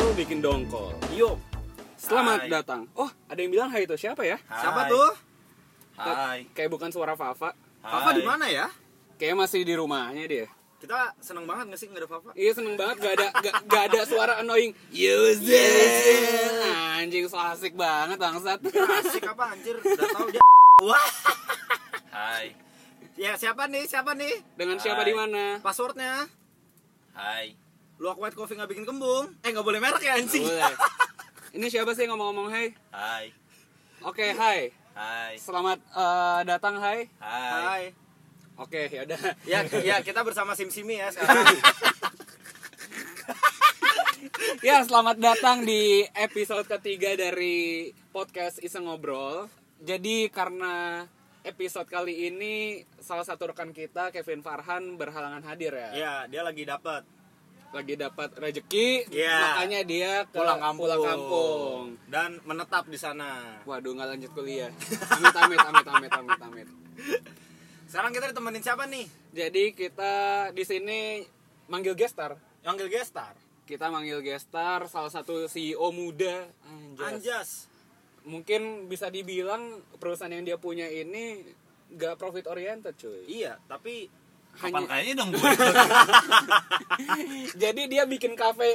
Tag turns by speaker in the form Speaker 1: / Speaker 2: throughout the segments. Speaker 1: Dongkol. Yuk. Selamat
Speaker 2: Hai.
Speaker 1: datang. Oh, ada yang bilang hai itu siapa ya?
Speaker 2: Hai.
Speaker 3: Siapa tuh?
Speaker 2: Hai.
Speaker 1: Kayak bukan suara Fafa.
Speaker 3: Papa di mana ya?
Speaker 1: Kayak masih di rumahnya dia.
Speaker 3: Kita seneng banget nggak sih nggak ada Papa?
Speaker 1: Iya seneng banget gak ada gak, gak ada suara annoying. User. Anjing so asik banget bangsat.
Speaker 3: Ya, Asik apa anjir? Udah tahu dia. Wah.
Speaker 2: Hai.
Speaker 3: Ya siapa nih? Siapa nih?
Speaker 1: Dengan siapa
Speaker 2: Hai.
Speaker 1: di mana?
Speaker 3: Passwordnya?
Speaker 2: Hai.
Speaker 3: Luak White Coffee nggak bikin kembung? Eh nggak boleh merek ya
Speaker 1: Nggak
Speaker 3: anjing.
Speaker 1: boleh. Ini siapa sih yang ngomong-ngomong hai?
Speaker 2: Hai.
Speaker 1: Oke, hai.
Speaker 2: Hai.
Speaker 1: Selamat eh, datang hai.
Speaker 2: Hai.
Speaker 3: Hai.
Speaker 1: Oke, ya udah.
Speaker 3: Ya, ya kita bersama Sim Simi ya sekarang.
Speaker 1: Ya, selamat datang di episode ketiga dari podcast Iseng Ngobrol. Jadi karena episode kali ini salah satu rekan kita Kevin Farhan berhalangan hadir ya.
Speaker 3: ya, dia lagi dapat.
Speaker 1: Lagi dapat rejeki,
Speaker 3: Iya.
Speaker 1: makanya dia ke-
Speaker 3: Pulang kampung.
Speaker 1: pulang kampung.
Speaker 3: Dan menetap di sana.
Speaker 1: Waduh, nggak lanjut kuliah. Amit, amit, amit, amit, amit, amit.
Speaker 3: Sekarang kita ditemenin siapa nih?
Speaker 1: Jadi kita di sini manggil gestar.
Speaker 3: Yang Gestar.
Speaker 1: Kita manggil gestar salah satu CEO muda. Anjas.
Speaker 3: Anjas.
Speaker 1: mungkin bisa dibilang perusahaan yang dia punya ini gak profit oriented cuy
Speaker 3: Iya, tapi
Speaker 2: Kapan kan?
Speaker 1: Hanya-
Speaker 2: kayaknya dong gue?
Speaker 1: jadi dia bikin kafe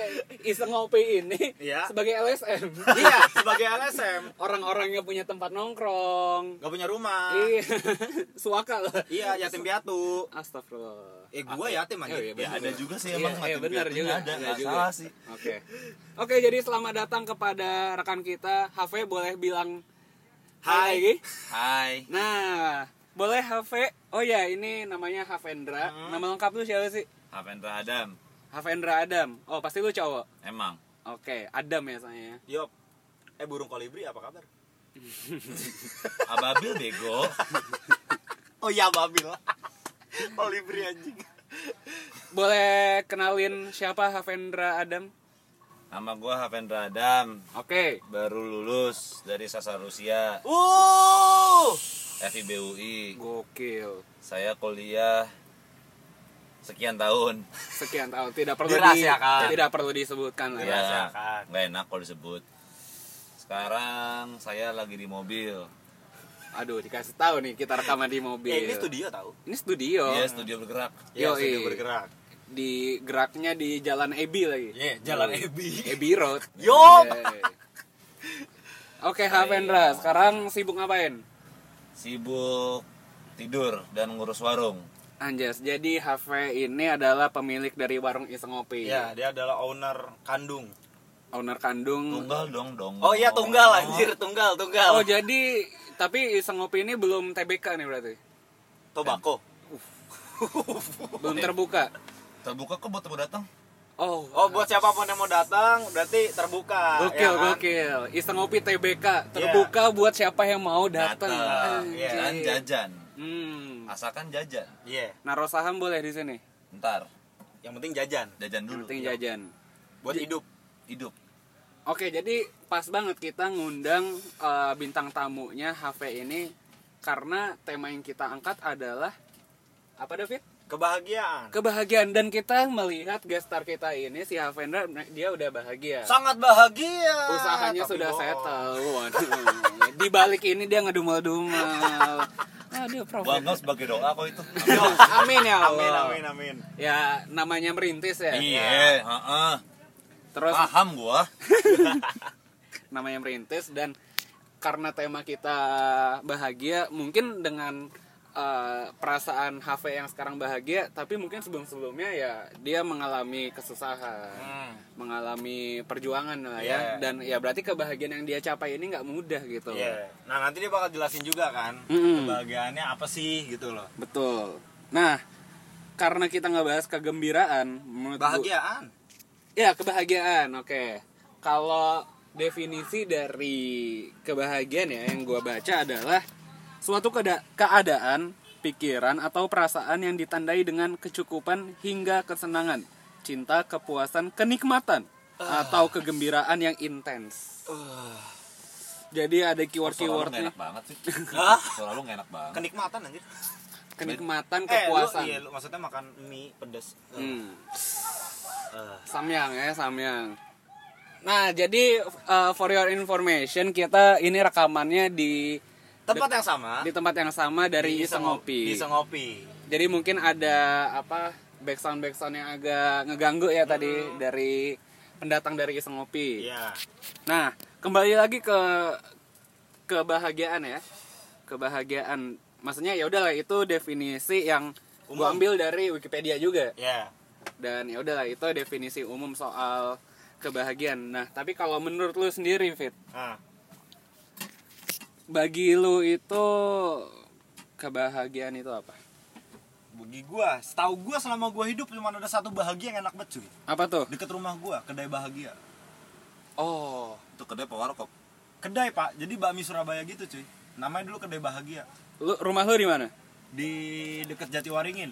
Speaker 1: iseng ngopi ini
Speaker 3: Iya.
Speaker 1: sebagai LSM
Speaker 3: iya sebagai LSM
Speaker 1: orang-orang yang punya tempat nongkrong
Speaker 3: nggak punya rumah.
Speaker 2: Ah.
Speaker 1: iya suaka loh
Speaker 3: Iya, yatim piatu.
Speaker 1: astagfirullah
Speaker 3: Eh gua yatim
Speaker 1: Oh,
Speaker 3: anjir.
Speaker 1: iya,
Speaker 2: ya
Speaker 1: bener.
Speaker 2: ada juga sih
Speaker 1: Iya,
Speaker 2: emang
Speaker 1: iya,
Speaker 2: mati
Speaker 1: benar
Speaker 2: piatunya
Speaker 1: juga
Speaker 2: ada
Speaker 1: Ada
Speaker 2: nggak
Speaker 1: juga.
Speaker 2: salah sih
Speaker 1: oke oke jadi selamat datang kepada rekan kita Hafe boleh bilang hai, Gi?
Speaker 2: hai
Speaker 1: nah boleh Hafe oh ya ini namanya Havendra
Speaker 2: Hmm.
Speaker 1: nama lengkap lu siapa sih
Speaker 2: Avendra Adam
Speaker 1: Havendra Adam. Oh, pasti lu cowok.
Speaker 2: emang
Speaker 1: Oke, Adam ya saya.
Speaker 3: Yop. Eh burung kolibri apa kabar?
Speaker 2: ababil bego
Speaker 3: Oh iya babil. kolibri anjing.
Speaker 1: Boleh kenalin siapa Havendra Adam?
Speaker 2: nama gue Avendra Adam
Speaker 1: Oke.
Speaker 2: baru lulus dari sasar Rusia
Speaker 3: Uh.
Speaker 2: FIBUI
Speaker 1: Gokil.
Speaker 2: saya kuliah sekian tahun
Speaker 1: Sekian tahun tidak perlu
Speaker 3: Dirahasiakan.
Speaker 1: tidak perlu disebutkan lah.
Speaker 3: Iya.
Speaker 2: ya
Speaker 3: Dirasakan.
Speaker 2: nggak enak kalau disebut sekarang saya lagi di mobil
Speaker 1: Aduh, dikasih tahu nih kita rekaman di mobil.
Speaker 3: Eh, ini studio tahu.
Speaker 1: Ini studio.
Speaker 2: dia studio bergerak
Speaker 3: Iya,
Speaker 1: Yoi.
Speaker 3: studio bergerak.
Speaker 1: Di geraknya di Jalan Ebi lagi.
Speaker 3: Iya, Jalan Ebi.
Speaker 1: Ebi Road.
Speaker 3: Yup.
Speaker 1: Yeay. Oke, Havendra, sekarang sibuk ngapain?
Speaker 2: sibuk tidur dan ngurus warung
Speaker 1: Anjas, jadi Have ini adalah pemilik dari warung Iseng Ngopi.
Speaker 3: Iya, dia adalah owner kandung.
Speaker 1: owner kandung.
Speaker 2: tunggal dong dong
Speaker 3: Oh iya tunggal anjir, tunggal,
Speaker 1: Oh
Speaker 3: tunggal.
Speaker 1: jadi tapi iseng ngopi ini belum TBK nih berarti,
Speaker 3: tobacco.
Speaker 1: belum
Speaker 3: Iya.
Speaker 1: terbuka.
Speaker 2: terbuka kok buat tamu datang
Speaker 1: Oh,
Speaker 3: Oh, buat siapapun yang mau datang berarti terbuka.
Speaker 1: gokil
Speaker 3: ya kan?
Speaker 1: gokil. Iseng ngopi TBK terbuka buat siapa yang mau datang.
Speaker 2: datang
Speaker 1: Anjing.
Speaker 3: iya.
Speaker 2: dan kan, jajan
Speaker 1: Hmm.
Speaker 2: asalkan jajan
Speaker 3: Iya,
Speaker 1: Naruh saham boleh di sini.
Speaker 2: ntar
Speaker 3: yang penting jajan
Speaker 1: Yang
Speaker 2: jajan dulu
Speaker 1: penting
Speaker 3: Iya.
Speaker 1: jajan.
Speaker 3: buat hidup.
Speaker 2: hidup
Speaker 1: Oke, jadi pas banget kita ngundang eh, bintang tamunya Have ini karena tema yang kita angkat adalah apa David?
Speaker 3: Kebahagiaan.
Speaker 1: Kebahagiaan dan kita melihat gestar kita ini si Havendra dia udah bahagia.
Speaker 3: Sangat bahagia.
Speaker 1: usahanya
Speaker 3: Tapi
Speaker 1: sudah
Speaker 3: bohong.
Speaker 1: settle waduh di balik ini dia ngedumel-dumel aduh
Speaker 2: gua
Speaker 1: profit
Speaker 2: anggap sebagai doa kok itu
Speaker 1: amin ya Allah
Speaker 3: Amin amin amin.
Speaker 1: ya namanya merintis ya
Speaker 2: iya heeh.
Speaker 3: Ah.
Speaker 1: terus
Speaker 2: paham gua
Speaker 1: namanya merintis dan karena tema kita bahagia mungkin dengan eh, perasaan HV yang sekarang bahagia tapi mungkin sebelum-sebelumnya ya dia mengalami kesusahan
Speaker 3: Hmm. Iya.
Speaker 1: mengalami perjuangan lah
Speaker 3: Yeah.
Speaker 1: ya dan ya berarti kebahagiaan yang dia capai ini nggak mudah gitu
Speaker 3: Iya. Nah nanti dia bakal jelasin juga kan
Speaker 1: Mm-mm.
Speaker 3: kebahagiaannya apa sih gitu loh.
Speaker 1: Betul. Nah, karena kita nggak bahas kegembiraan, menurut gua-
Speaker 3: Bahagiaan.
Speaker 1: ya kebahagiaan. Oke. Kalau definisi dari kebahagiaan ya yang gua baca adalah suatu keada- keadaan, pikiran atau perasaan yang ditandai dengan kecukupan hingga kesenangan, cinta, kepuasan, kenikmatan
Speaker 3: Ah.
Speaker 1: atau kegembiraan yang intens. Uh. Jadi
Speaker 3: Oh,
Speaker 1: ada
Speaker 2: suara lu gak
Speaker 1: keyword-keywordnya
Speaker 2: enak banget sih
Speaker 3: Hah?
Speaker 2: suara lu gak enak banget
Speaker 3: Kenikmatan anjir.
Speaker 1: kenikmatan,
Speaker 3: Eh lu,
Speaker 1: kepuasan.
Speaker 3: iya, lu maksudnya makan mie pedas. Eh,
Speaker 1: Hmm.
Speaker 3: eh,
Speaker 1: Samyang ya, Samyang. Nah, jadi uh, for your information kita ini rekamannya di
Speaker 3: Tempat yang sama.
Speaker 1: di tempat yang sama dari
Speaker 3: Di Iseng-
Speaker 1: Iseng
Speaker 3: Di
Speaker 1: Ngopi.
Speaker 3: Iseng Ngopi.
Speaker 1: Jadi mungkin ada apa back sound back sound yang agak ngeganggu ya tadi dari pendatang dari Iseng Ngopi.
Speaker 3: Hmm. Iya.
Speaker 1: Nah, kembali lagi ke kebahagiaan ya. Kebahagiaan. Maksudnya ya udahlah itu definisi yang gua
Speaker 3: Umum.
Speaker 1: ambil dari Wikipedia juga
Speaker 3: Iya.
Speaker 1: dan ya udahlah itu definisi umum soal kebahagiaan. Nah, tapi kalau menurut lu sendiri Fit,
Speaker 3: Nah,
Speaker 1: bagi lu itu kebahagiaan itu apa?
Speaker 3: bagi gua, setahu gua selama gua hidup cuma ada satu bahagia yang enak banget cuy.
Speaker 1: Apa tuh?
Speaker 3: Deket rumah gua, kedai bahagia.
Speaker 1: Oh,
Speaker 2: Itu kedai apa warkop?
Speaker 3: Kedai, Pak. Jadi bakmi Surabaya gitu cuy. Namanya dulu kedai bahagia
Speaker 1: lu rumah lu di mana?
Speaker 3: di deket Jatiwaringin.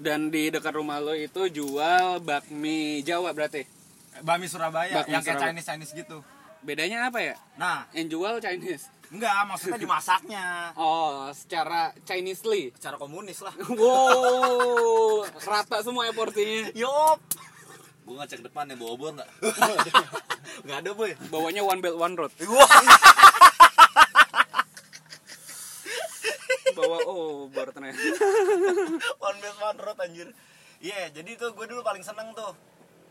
Speaker 1: Dan di dekat rumah lu itu jual bakmi Jawa berarti.
Speaker 3: Eh, Bakmi Surabaya
Speaker 1: Bakmi
Speaker 3: yang kayak
Speaker 1: Surabaya.
Speaker 3: Chinese Chinese gitu.
Speaker 1: Bedanya apa ya?
Speaker 3: Nah,
Speaker 1: Yang jual Chinese.
Speaker 3: enggak maksudnya dimasaknya
Speaker 1: Oh, secara Chinesely.
Speaker 3: secara komunis lah.
Speaker 1: Wow, rata semua ya porsinya.
Speaker 3: Yop.
Speaker 2: Gue ngecek depan ya bawa obor nggak?
Speaker 3: Enggak ada, Boy.
Speaker 1: Bawanya one belt one road.
Speaker 3: Wah.
Speaker 1: Bawa oh, baru ternyata.
Speaker 3: one best one road anjir iya jadi itu gue dulu paling seneng tuh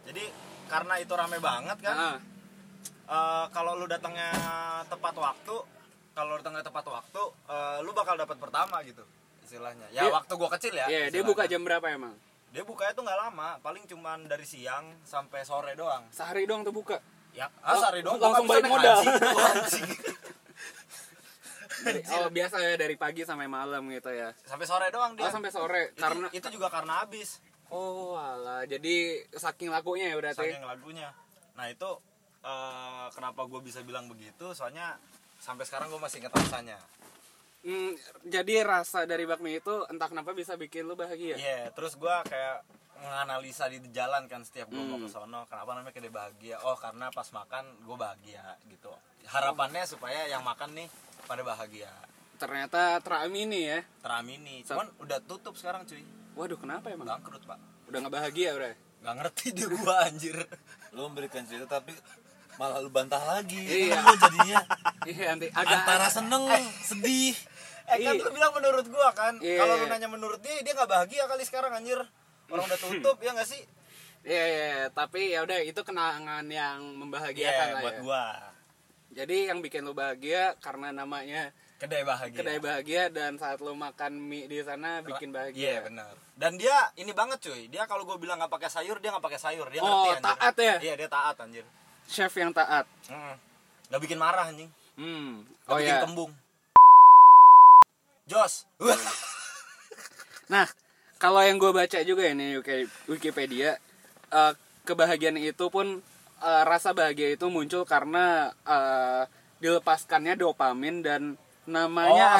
Speaker 3: jadi karena itu rame banget kan
Speaker 1: Ah,
Speaker 3: eh, kalau lu datangnya tepat waktu kalau lu datangnya tepat waktu eh, lu bakal dapat pertama gitu istilahnya ya
Speaker 1: Dia-
Speaker 3: waktu gue kecil ya
Speaker 1: Iya, dia
Speaker 3: istilahnya.
Speaker 1: buka jam berapa emang?
Speaker 3: dia bukanya tuh nggak lama paling cuman dari siang sampai sore doang
Speaker 1: Sehari doang tuh buka.
Speaker 3: ya ah,
Speaker 1: Oh,
Speaker 3: sehari doang
Speaker 1: langsung
Speaker 3: gua nggak
Speaker 1: balik
Speaker 3: bisa
Speaker 1: modal.
Speaker 3: naik haji. Anjing.
Speaker 1: Dari, oh, biasa ya dari pagi sampai malam gitu ya.
Speaker 3: sampai sore doang dia
Speaker 1: Oh, sampai sore
Speaker 3: Itu-
Speaker 1: karena
Speaker 3: itu juga karena habis
Speaker 1: oh alah, jadi saking lakunya ya berarti.
Speaker 3: saking lagunya nah itu eh, kenapa gue bisa bilang begitu soalnya sampai sekarang gue masih inget rasanya
Speaker 1: Hmm, jadi rasa dari bakmi itu entah kenapa bisa bikin lu
Speaker 3: iya
Speaker 1: bahagia.
Speaker 3: terus gue kayak menganalisa di jalan kan setiap gue
Speaker 1: Hmm.
Speaker 3: mau ke sono kenapa namanya kedai bahagia oh karena pas makan gue bahagia gitu harapannya supaya yang makan nih pada bahagia
Speaker 1: Ternyata teramini ya.
Speaker 3: teramini cuman udah tutup sekarang cuy
Speaker 1: Waduh, kenapa emang?
Speaker 3: bangkrut pak
Speaker 1: Udah nggak bahagia udah.
Speaker 3: Gak ngerti dia gua anjir
Speaker 2: Lu memberikan cerita tapi malah lu bantah lagi.
Speaker 1: Iya.
Speaker 2: Lu jadinya
Speaker 1: Iya, nanti agak
Speaker 2: antara seneng, sedih.
Speaker 3: Eh kan lu bilang menurut gua kan
Speaker 1: Iya.
Speaker 3: Kalau lu nanya menurut dia, dia gak bahagia kali sekarang anjir Orang udah tutup, ya gak sih?
Speaker 1: Iya, iya, iya. tapi ya udah itu kenangan yang
Speaker 3: Iya,
Speaker 1: membahagiakan lah
Speaker 3: buat
Speaker 1: ya.
Speaker 3: gua
Speaker 1: Jadi yang bikin lu bahagia karena namanya
Speaker 3: kedai bahagia
Speaker 1: kedai bahagia dan saat lu makan mie di sana bikin
Speaker 3: iya
Speaker 1: bahagia.
Speaker 3: benar dan dia ini banget cuy dia kalau gue bilang nggak pakai sayur dia nggak pakai sayur dia
Speaker 1: Oh,
Speaker 3: ngerti anjir.
Speaker 1: taat ya?
Speaker 3: iya dia taat anjir
Speaker 1: Chef yang taat.
Speaker 3: Mm. nggak bikin marah anjing nggak
Speaker 1: Hmm. Oh
Speaker 3: bikin
Speaker 1: ya.
Speaker 3: kembung Jos
Speaker 1: Nah, kalau yang gue baca juga ini Wikipedia, eh, kebahagiaan itu pun eh, rasa bahagia itu muncul karena eh, dilepaskannya dopamin dan namanya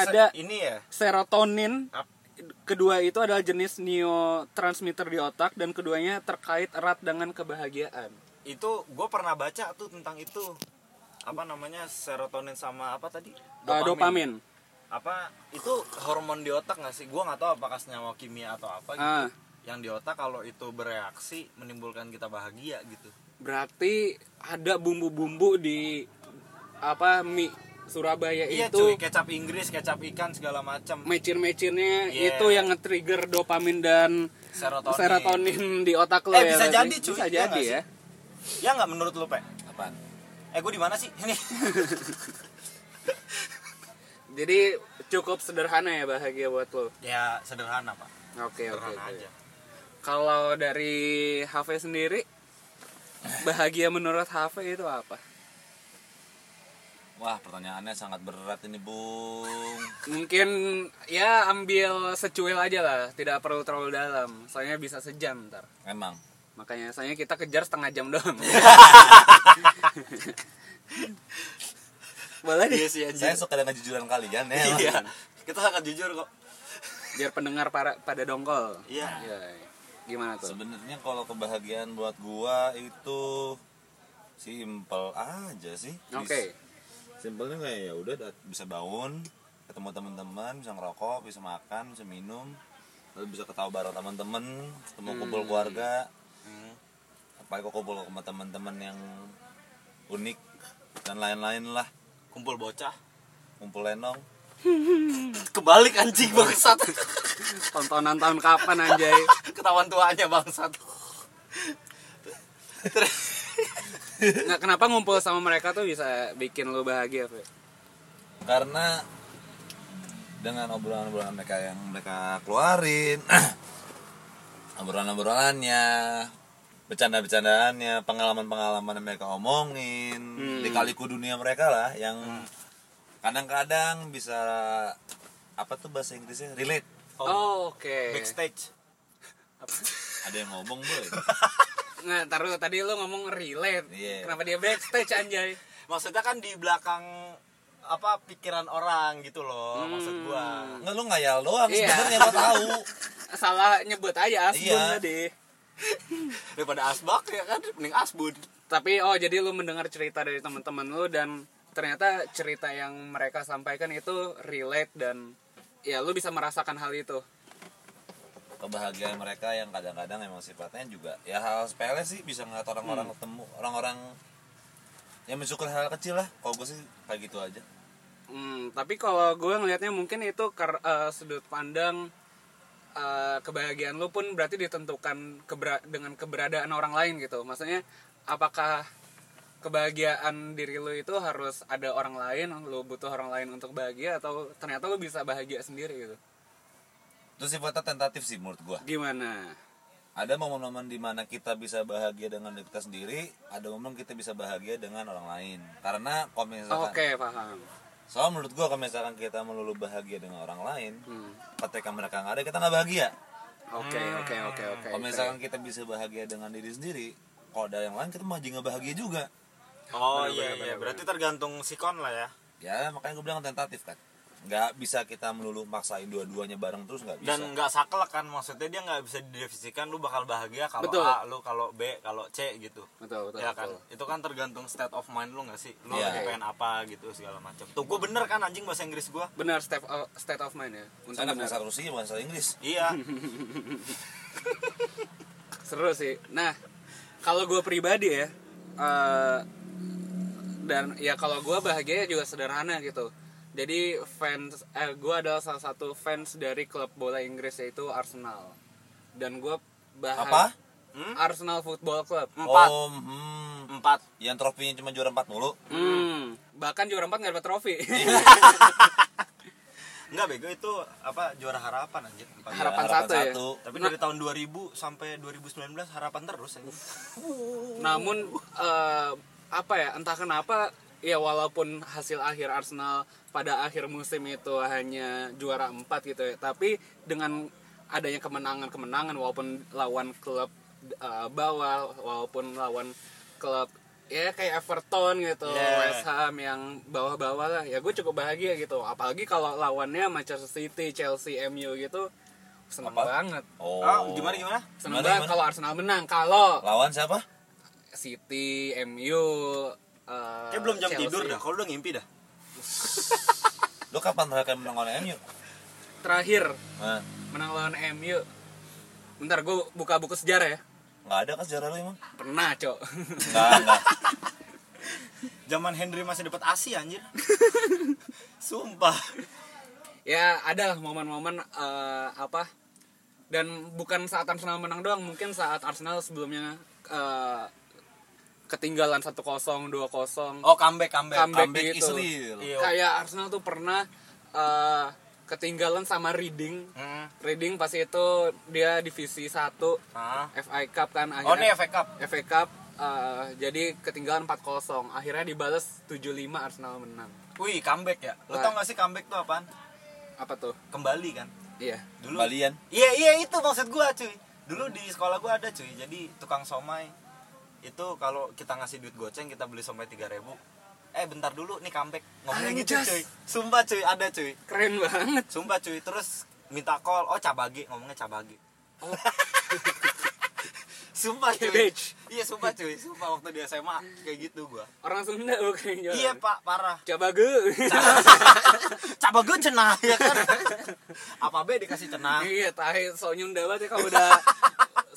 Speaker 3: Oh, se-
Speaker 1: ada
Speaker 3: ini ya
Speaker 1: serotonin.
Speaker 3: Ap-
Speaker 1: Kedua itu adalah jenis neurotransmitter di otak dan keduanya terkait erat dengan kebahagiaan. Eh,
Speaker 3: itu gue pernah baca tuh tentang itu apa namanya serotonin sama apa tadi
Speaker 1: Eh, dopamin.
Speaker 3: apa itu hormon di otak nggak sih gue nggak tahu apakah senyawa kimia atau apa gitu
Speaker 1: Ah,
Speaker 3: yang di otak kalau itu bereaksi menimbulkan kita bahagia gitu
Speaker 1: berarti ada bumbu-bumbu di apa mie Surabaya
Speaker 3: Iya cuy,
Speaker 1: itu
Speaker 3: kecap Inggris, kecap ikan segala macam.
Speaker 1: mecin-mecinnya
Speaker 3: Iya.
Speaker 1: itu yang nge-trigger dopamin dan
Speaker 3: Serotonin.
Speaker 1: serotonin di otak lo
Speaker 3: Eh,
Speaker 1: ya,
Speaker 3: bisa
Speaker 1: Leslie.
Speaker 3: jadi, cuy.
Speaker 1: bisa
Speaker 3: Iya
Speaker 1: jadi
Speaker 3: nggak
Speaker 1: ya
Speaker 3: Ya nggak menurut lu, Pe?
Speaker 2: Apaan?
Speaker 3: Eh, gue di mana sih? Ini.
Speaker 1: jadi cukup sederhana ya bahagia buat lo oke
Speaker 3: ya sederhana, Pak.
Speaker 1: Ya, oke
Speaker 3: Sederhana
Speaker 1: oke.
Speaker 3: aja.
Speaker 1: kalau dari Hafe sendiri bahagia menurut Hafe itu apa
Speaker 2: Wah, pertanyaannya sangat berat ini, Bung.
Speaker 1: mungkin ya ambil secuil aja lah tidak perlu terlalu dalam soalnya bisa sejam ntar
Speaker 2: Emang.
Speaker 1: makanya soalnya kita kejar setengah jam doang boleh deh
Speaker 3: Iya sih
Speaker 2: Saya
Speaker 3: anjir.
Speaker 2: suka dengan kejujuran kalian ya.
Speaker 3: Iya. Kita sangat jujur kok.
Speaker 1: biar pendengar para pada dongkol
Speaker 3: Iya.
Speaker 1: Iya. gimana tuh
Speaker 2: Sebenarnya kalau kebahagiaan buat gua itu simple aja sih.
Speaker 1: oke
Speaker 2: Simpelnya kayak ya udah dat- bisa bangun, ketemu teman-teman, bisa ngerokok, bisa makan, bisa minum, lalu bisa ketawa bareng teman-teman, ketemu kumpul keluarga. Apalagi kok kumpul sama teman-teman yang unik dan lain-lain lah
Speaker 3: kumpul bocah
Speaker 2: kumpul lenong
Speaker 3: kebalik anjing bangsat
Speaker 1: tontonan tahun kapan anjay
Speaker 3: ketahuan tuanya bangsat
Speaker 1: nggak kenapa ngumpul sama mereka tuh bisa bikin lo bahagia Fe?
Speaker 2: karena dengan obrolan-obrolan mereka yang mereka keluarin obrolan-obrolannya bercanda-bercandaannya pengalaman-pengalaman yang mereka omongin dikaliku dunia mereka lah yang kadang-kadang bisa apa tuh bahasa Inggrisnya relate
Speaker 1: Oh, oke
Speaker 3: backstage
Speaker 2: ada yang ngomong boy
Speaker 1: nah taruh tadi lo ngomong relate
Speaker 2: Iya.
Speaker 1: kenapa dia backstage anjay
Speaker 3: maksudnya kan di belakang apa pikiran orang gitu loh maksud gua
Speaker 2: nggak lu ngayal doang
Speaker 1: Iya.
Speaker 2: sebenarnya gua tahu
Speaker 1: salah nyebut aja asbun
Speaker 2: Iya.
Speaker 1: tadi
Speaker 3: daripada asbak ya kan mending asbun
Speaker 1: tapi oh jadi lu mendengar cerita dari teman-teman lu dan ternyata cerita yang mereka sampaikan itu relate dan ya lu bisa merasakan hal itu
Speaker 2: kebahagiaan mereka yang kadang-kadang emang sifatnya juga ya hal sepele sih bisa ngeliat
Speaker 1: Hmm.
Speaker 2: orang-orang ketemu orang-orang yang mensyukur hal kecil lah kalau gue sih kayak gitu aja
Speaker 1: Hmm, tapi kalau gue ngelihatnya mungkin itu ker- eh, sudut pandang eh, kebahagiaan lu pun berarti ditentukan kebera- dengan keberadaan orang lain gitu. Maksudnya apakah kebahagiaan diri lu itu harus ada orang lain, lu butuh orang lain untuk bahagia atau ternyata lu bisa bahagia sendiri gitu.
Speaker 2: itu sifatnya tentatif sih menurut gue
Speaker 1: Gimana?
Speaker 2: ada momen-momen dimana kita bisa bahagia dengan diri kita sendiri ada momen kita bisa bahagia dengan orang lain karena kalau misalkan
Speaker 1: Oke, paham.
Speaker 2: soal menurut gue kalau misalkan kita melulu bahagia dengan orang lain
Speaker 1: Hmm.
Speaker 2: ketika mereka nggak ada kita nggak bahagia
Speaker 1: Oke, oke, oke, Hmm. oke.
Speaker 2: kalau misalkan kita bisa bahagia dengan diri sendiri kalau ada yang lain kita mah jadi nggak bahagia juga
Speaker 3: oh iya iya berarti tergantung sikon lah ya
Speaker 2: ya makanya gue bilang tentatif kan nggak bisa kita melulu maksain dua-duanya bareng terus nggak bisa
Speaker 3: dan nggak saklek kan maksudnya dia nggak bisa didefinisikan lu bakal bahagia kalau
Speaker 1: Betul.
Speaker 3: A lu kalau B kalau C gitu
Speaker 1: Betul, betul.
Speaker 3: ya kan
Speaker 1: betul.
Speaker 3: itu kan tergantung state of mind lu nggak sih lu
Speaker 2: Iya.
Speaker 3: lagi pengen apa gitu segala macam tuh gue bener kan anjing bahasa Inggris gua
Speaker 1: Benar state of, state of mind ya. Untuk
Speaker 2: Karena
Speaker 1: benar.
Speaker 2: bahasa Rusia bahasa Inggris
Speaker 3: iya
Speaker 1: seru sih nah kalau gue pribadi ya eh, dan ya kalau gue bahagia juga sederhana gitu jadi fans eh, gue adalah salah satu fans dari klub bola Inggris yaitu Arsenal dan gue
Speaker 2: apa
Speaker 1: bahagia Arsenal Football Club
Speaker 3: Empat.
Speaker 2: oh hmm.
Speaker 3: empat
Speaker 2: yang trofinya cuma juara empat mulu
Speaker 1: Hmm, bahkan juara empat nggak dapat trofi
Speaker 3: nggak bego itu apa juara harapan Nah. anjir empat
Speaker 2: Harap-
Speaker 1: harapan,
Speaker 2: harapan
Speaker 1: satu, ya
Speaker 2: satu.
Speaker 3: tapi dari tahun 2000 sampai 2019 harapan terus anjing
Speaker 1: namun eh, apa ya entah kenapa ya walaupun hasil akhir Arsenal pada akhir musim itu hanya juara 4 gitu ya tapi dengan adanya kemenangan-kemenangan walaupun lawan klub eh, bawah walaupun lawan klub ya kayak Everton gitu
Speaker 3: Yeah.
Speaker 1: West Ham yang bawah-bawah lah ya gue cukup bahagia gitu apalagi kalau lawannya Manchester City Chelsea MU gitu seneng
Speaker 2: Apa?
Speaker 1: banget
Speaker 2: oh
Speaker 3: Ah, gimana gimana
Speaker 1: seneng banget kalau Arsenal menang kalau
Speaker 2: lawan siapa
Speaker 1: City, MU, eh
Speaker 3: kayak belum jam
Speaker 1: Chelsea.
Speaker 3: tidur dah kalau udah ngimpi dah
Speaker 2: lu kapan terakhir menang lawan MU
Speaker 1: Terakhir
Speaker 2: nah,
Speaker 1: menang lawan MU. Bentar gue buka buku sejarah ya.
Speaker 2: nggak ada kan sejarah lu emang
Speaker 1: Pernah, Cok.
Speaker 2: nggak nggak
Speaker 3: zaman Henry masih dapat asi anjir sumpah
Speaker 1: ya ada lah momen-momen eh, apa dan bukan saat Arsenal menang doang, mungkin saat Arsenal sebelumnya eh, ketinggalan 1-0, 2-0.
Speaker 3: oh comeback comeback
Speaker 1: Comeback.
Speaker 2: comeback
Speaker 1: gitu.
Speaker 2: Israel
Speaker 3: Iya.
Speaker 1: Kayak Arsenal tuh pernah eh, ketinggalan sama Reading.
Speaker 3: Hmm.
Speaker 1: Reading pas itu dia divisi 1
Speaker 3: Ah.
Speaker 1: FA Cup kan
Speaker 3: oh ini
Speaker 1: akhirnya
Speaker 3: FA Cup
Speaker 1: FA Cup eh, jadi ketinggalan 4-0 akhirnya dibales 7-5 Arsenal menang
Speaker 3: wih comeback ya lo
Speaker 1: Nah.
Speaker 3: tau gak sih comeback tuh apaan
Speaker 1: apa tuh
Speaker 3: kembali kan
Speaker 1: iya
Speaker 3: dulu
Speaker 2: balian
Speaker 3: Iya iya itu maksud gua cuy. Dulu di sekolah gua ada cuy. Jadi tukang somai itu kalau kita ngasih duit goceng kita beli somai 3000. Eh bentar dulu nih comeback. Ngomongnya gitu
Speaker 1: Anjas.
Speaker 3: cuy. Sumpah cuy ada cuy.
Speaker 1: keren banget
Speaker 3: Sumpah cuy. Terus minta call, oh cabagi, ngomongnya cabagi.
Speaker 1: Oh.
Speaker 3: sumpah cuy.
Speaker 1: Cabbage.
Speaker 3: Iya sumpah cuy. Sumpah waktu di SMA kayak gitu gua.
Speaker 1: orang Sunda bukan yang
Speaker 3: Iya Pak, parah.
Speaker 1: Cabage.
Speaker 3: Cabagi cenah ya kan. Apa be dikasih cenah.
Speaker 1: iya tahi soalnya Sunda banget ya kalau udah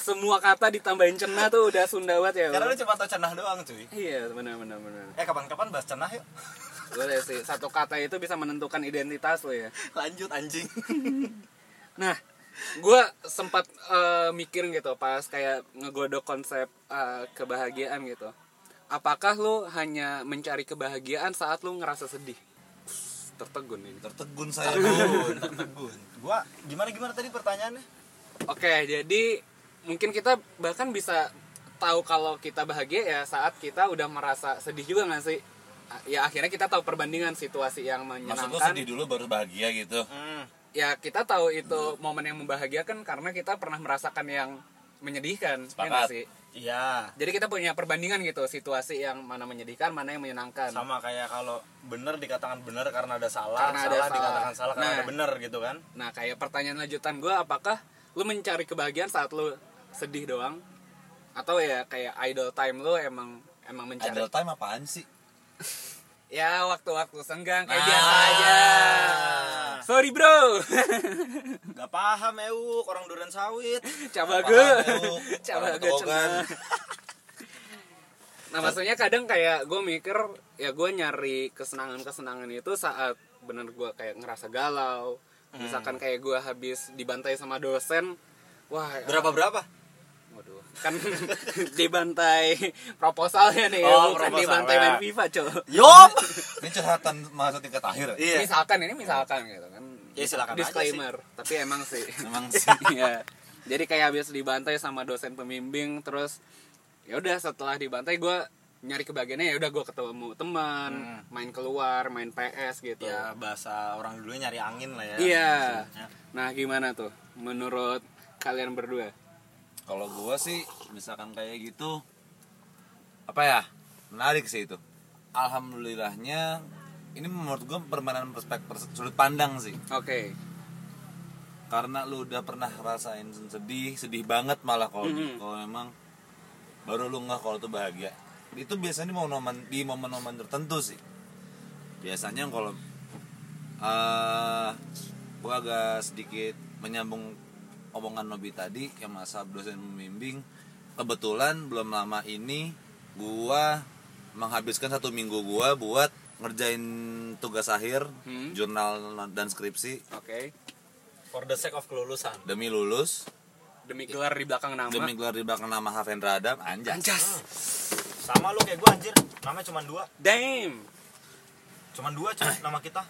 Speaker 1: semua kata ditambahin cenah tuh udah Sunda banget ya.
Speaker 3: Karena
Speaker 1: Bang.
Speaker 3: lu cuma tau cenah doang cuy.
Speaker 1: Iya, benar benar benar.
Speaker 3: Eh kapan-kapan bahas cenah yuk.
Speaker 1: Boleh sih, satu kata itu bisa menentukan identitas lo ya.
Speaker 3: Lanjut anjing.
Speaker 1: Nah, gue sempat eh, mikir gitu pas kayak ngegodok konsep eh, kebahagiaan gitu. Apakah lo hanya mencari kebahagiaan saat lo ngerasa sedih? Psst, Tertegun ini.
Speaker 2: tertegun saya pun tertegun
Speaker 3: Gua gimana gimana tadi pertanyaannya?
Speaker 1: Oke, jadi mungkin kita bahkan bisa tahu kalau kita bahagia ya saat kita udah merasa sedih juga nggak sih? A- Ya akhirnya kita tahu perbandingan situasi yang
Speaker 2: maksud
Speaker 1: menyenangkan.
Speaker 2: lu sedih dulu baru bahagia gitu
Speaker 3: Hmm.
Speaker 1: Ya kita tahu itu momen yang membahagiakan karena kita pernah merasakan yang menyedihkan, ya nggak
Speaker 2: Sepakat.
Speaker 1: sih?
Speaker 3: Iya.
Speaker 1: Jadi kita punya perbandingan gitu situasi yang mana menyedihkan, mana yang menyenangkan.
Speaker 3: Sama kayak kalau bener dikatakan bener karena ada salah,
Speaker 1: Karena ada
Speaker 3: salah
Speaker 1: salah.
Speaker 3: dikatakan salah karena
Speaker 1: Nah.
Speaker 3: ada bener gitu kan.
Speaker 1: Nah kayak pertanyaan lanjutan gue, apakah lu mencari kebahagiaan saat lu sedih doang? Atau ya kayak idle time lu emang emang mencari
Speaker 2: idle time apaan sih
Speaker 1: Ya waktu-waktu senggang kayak
Speaker 2: Nah.
Speaker 1: biasa aja. Sorry bro.
Speaker 3: Gak paham euk orang durian sawit.
Speaker 1: Coba
Speaker 2: Apaan
Speaker 1: gue.
Speaker 2: lu?
Speaker 1: Coba
Speaker 2: Orang
Speaker 1: gue
Speaker 2: ketokan.
Speaker 1: cenah. Nah maksudnya kadang kayak gue mikir ya gue nyari kesenangan-kesenangan itu saat bener gue kayak ngerasa galau. Misalkan kayak gue habis dibantai sama dosen. Wah,
Speaker 3: Berapa berapa?
Speaker 1: waduh, kan dibantai proposalnya nih, ya,
Speaker 3: Oh,
Speaker 1: bukan
Speaker 3: proposalnya.
Speaker 1: dibantai main FIFA, cuy.
Speaker 3: Yop.
Speaker 2: ini curhatan mahasiswa tingkat akhir ya?
Speaker 3: iya.
Speaker 1: Misalkan ini misalkan gitu kan.
Speaker 3: Ya, silakan aja
Speaker 1: Disclaimer, tapi emang sih.
Speaker 2: emang sih
Speaker 1: Iya. Jadi kayak habis dibantai sama dosen pembimbing terus ya udah setelah dibantai gue nyari kebahagiaannya ya udah gue ketemu teman, main keluar, main PS gitu.
Speaker 3: Ya bahasa orang dulu nyari angin lah ya.
Speaker 1: Iya.
Speaker 3: Maksudnya.
Speaker 1: Nah, gimana tuh menurut kalian berdua?
Speaker 2: kalau gua sih misalkan kayak gitu apa ya menarik sih itu alhamdulillahnya ini menurut gua permainan perspektif sudut pandang sih
Speaker 1: Oke.
Speaker 2: karena lu udah pernah rasain sedih sedih banget malah kalau di- kalau memang baru lu nggak kalau tuh bahagia itu biasanya di momen di momen-momen tertentu sih biasanya kalau eh gua agak sedikit menyambung omongan Nobi tadi yang masa dosen membimbing kebetulan belum lama ini gua menghabiskan satu minggu gua buat ngerjain tugas akhir jurnal dan skripsi
Speaker 1: Oke.
Speaker 3: For the sake of kelulusan.
Speaker 2: demi lulus
Speaker 1: Demi gelar di belakang nama.
Speaker 2: demi gelar di belakang nama Havendra Adam anjay
Speaker 1: Anjas.
Speaker 3: Sama lu kayak gua anjir. Namanya cuma dua.
Speaker 1: Damn.
Speaker 3: Cuman dua cuy nama kita.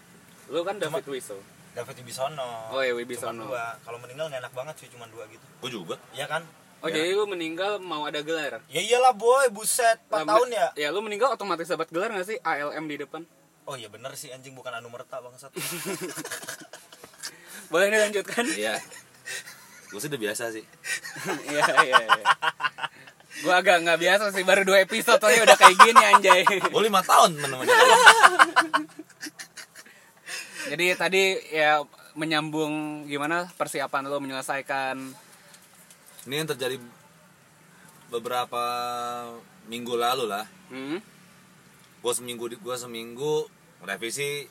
Speaker 1: Lu kan David Wiso.
Speaker 3: David Wibisono.
Speaker 1: Oh, iya, Wibisono.
Speaker 3: Cuman dua. Kalau meninggal nggak enak banget cuy cuman dua gitu.
Speaker 2: gue juga
Speaker 3: Iya kan?
Speaker 1: Oh, jadi lu meninggal mau ada gelar?
Speaker 3: Ya iyalah boy, buset 4
Speaker 1: Lah,
Speaker 3: tahun
Speaker 1: men-
Speaker 3: ya.
Speaker 1: Ya lu meninggal otomatis dapat gelar gak sih ALM di depan?
Speaker 3: Oh iya bener sih anjing bukan anu merta bangsat.
Speaker 1: Boleh dilanjutkan?
Speaker 2: iya gue sih udah biasa sih
Speaker 1: Iya iya iya. Gua agak nggak biasa sih baru dua episode aja udah kayak gini anjay.
Speaker 2: gue lima tahun menemani
Speaker 1: Jadi tadi ya menyambung gimana persiapan lo menyelesaikan
Speaker 2: ini yang terjadi beberapa minggu lalu lah
Speaker 1: hmm?
Speaker 2: gue seminggu gue seminggu revisi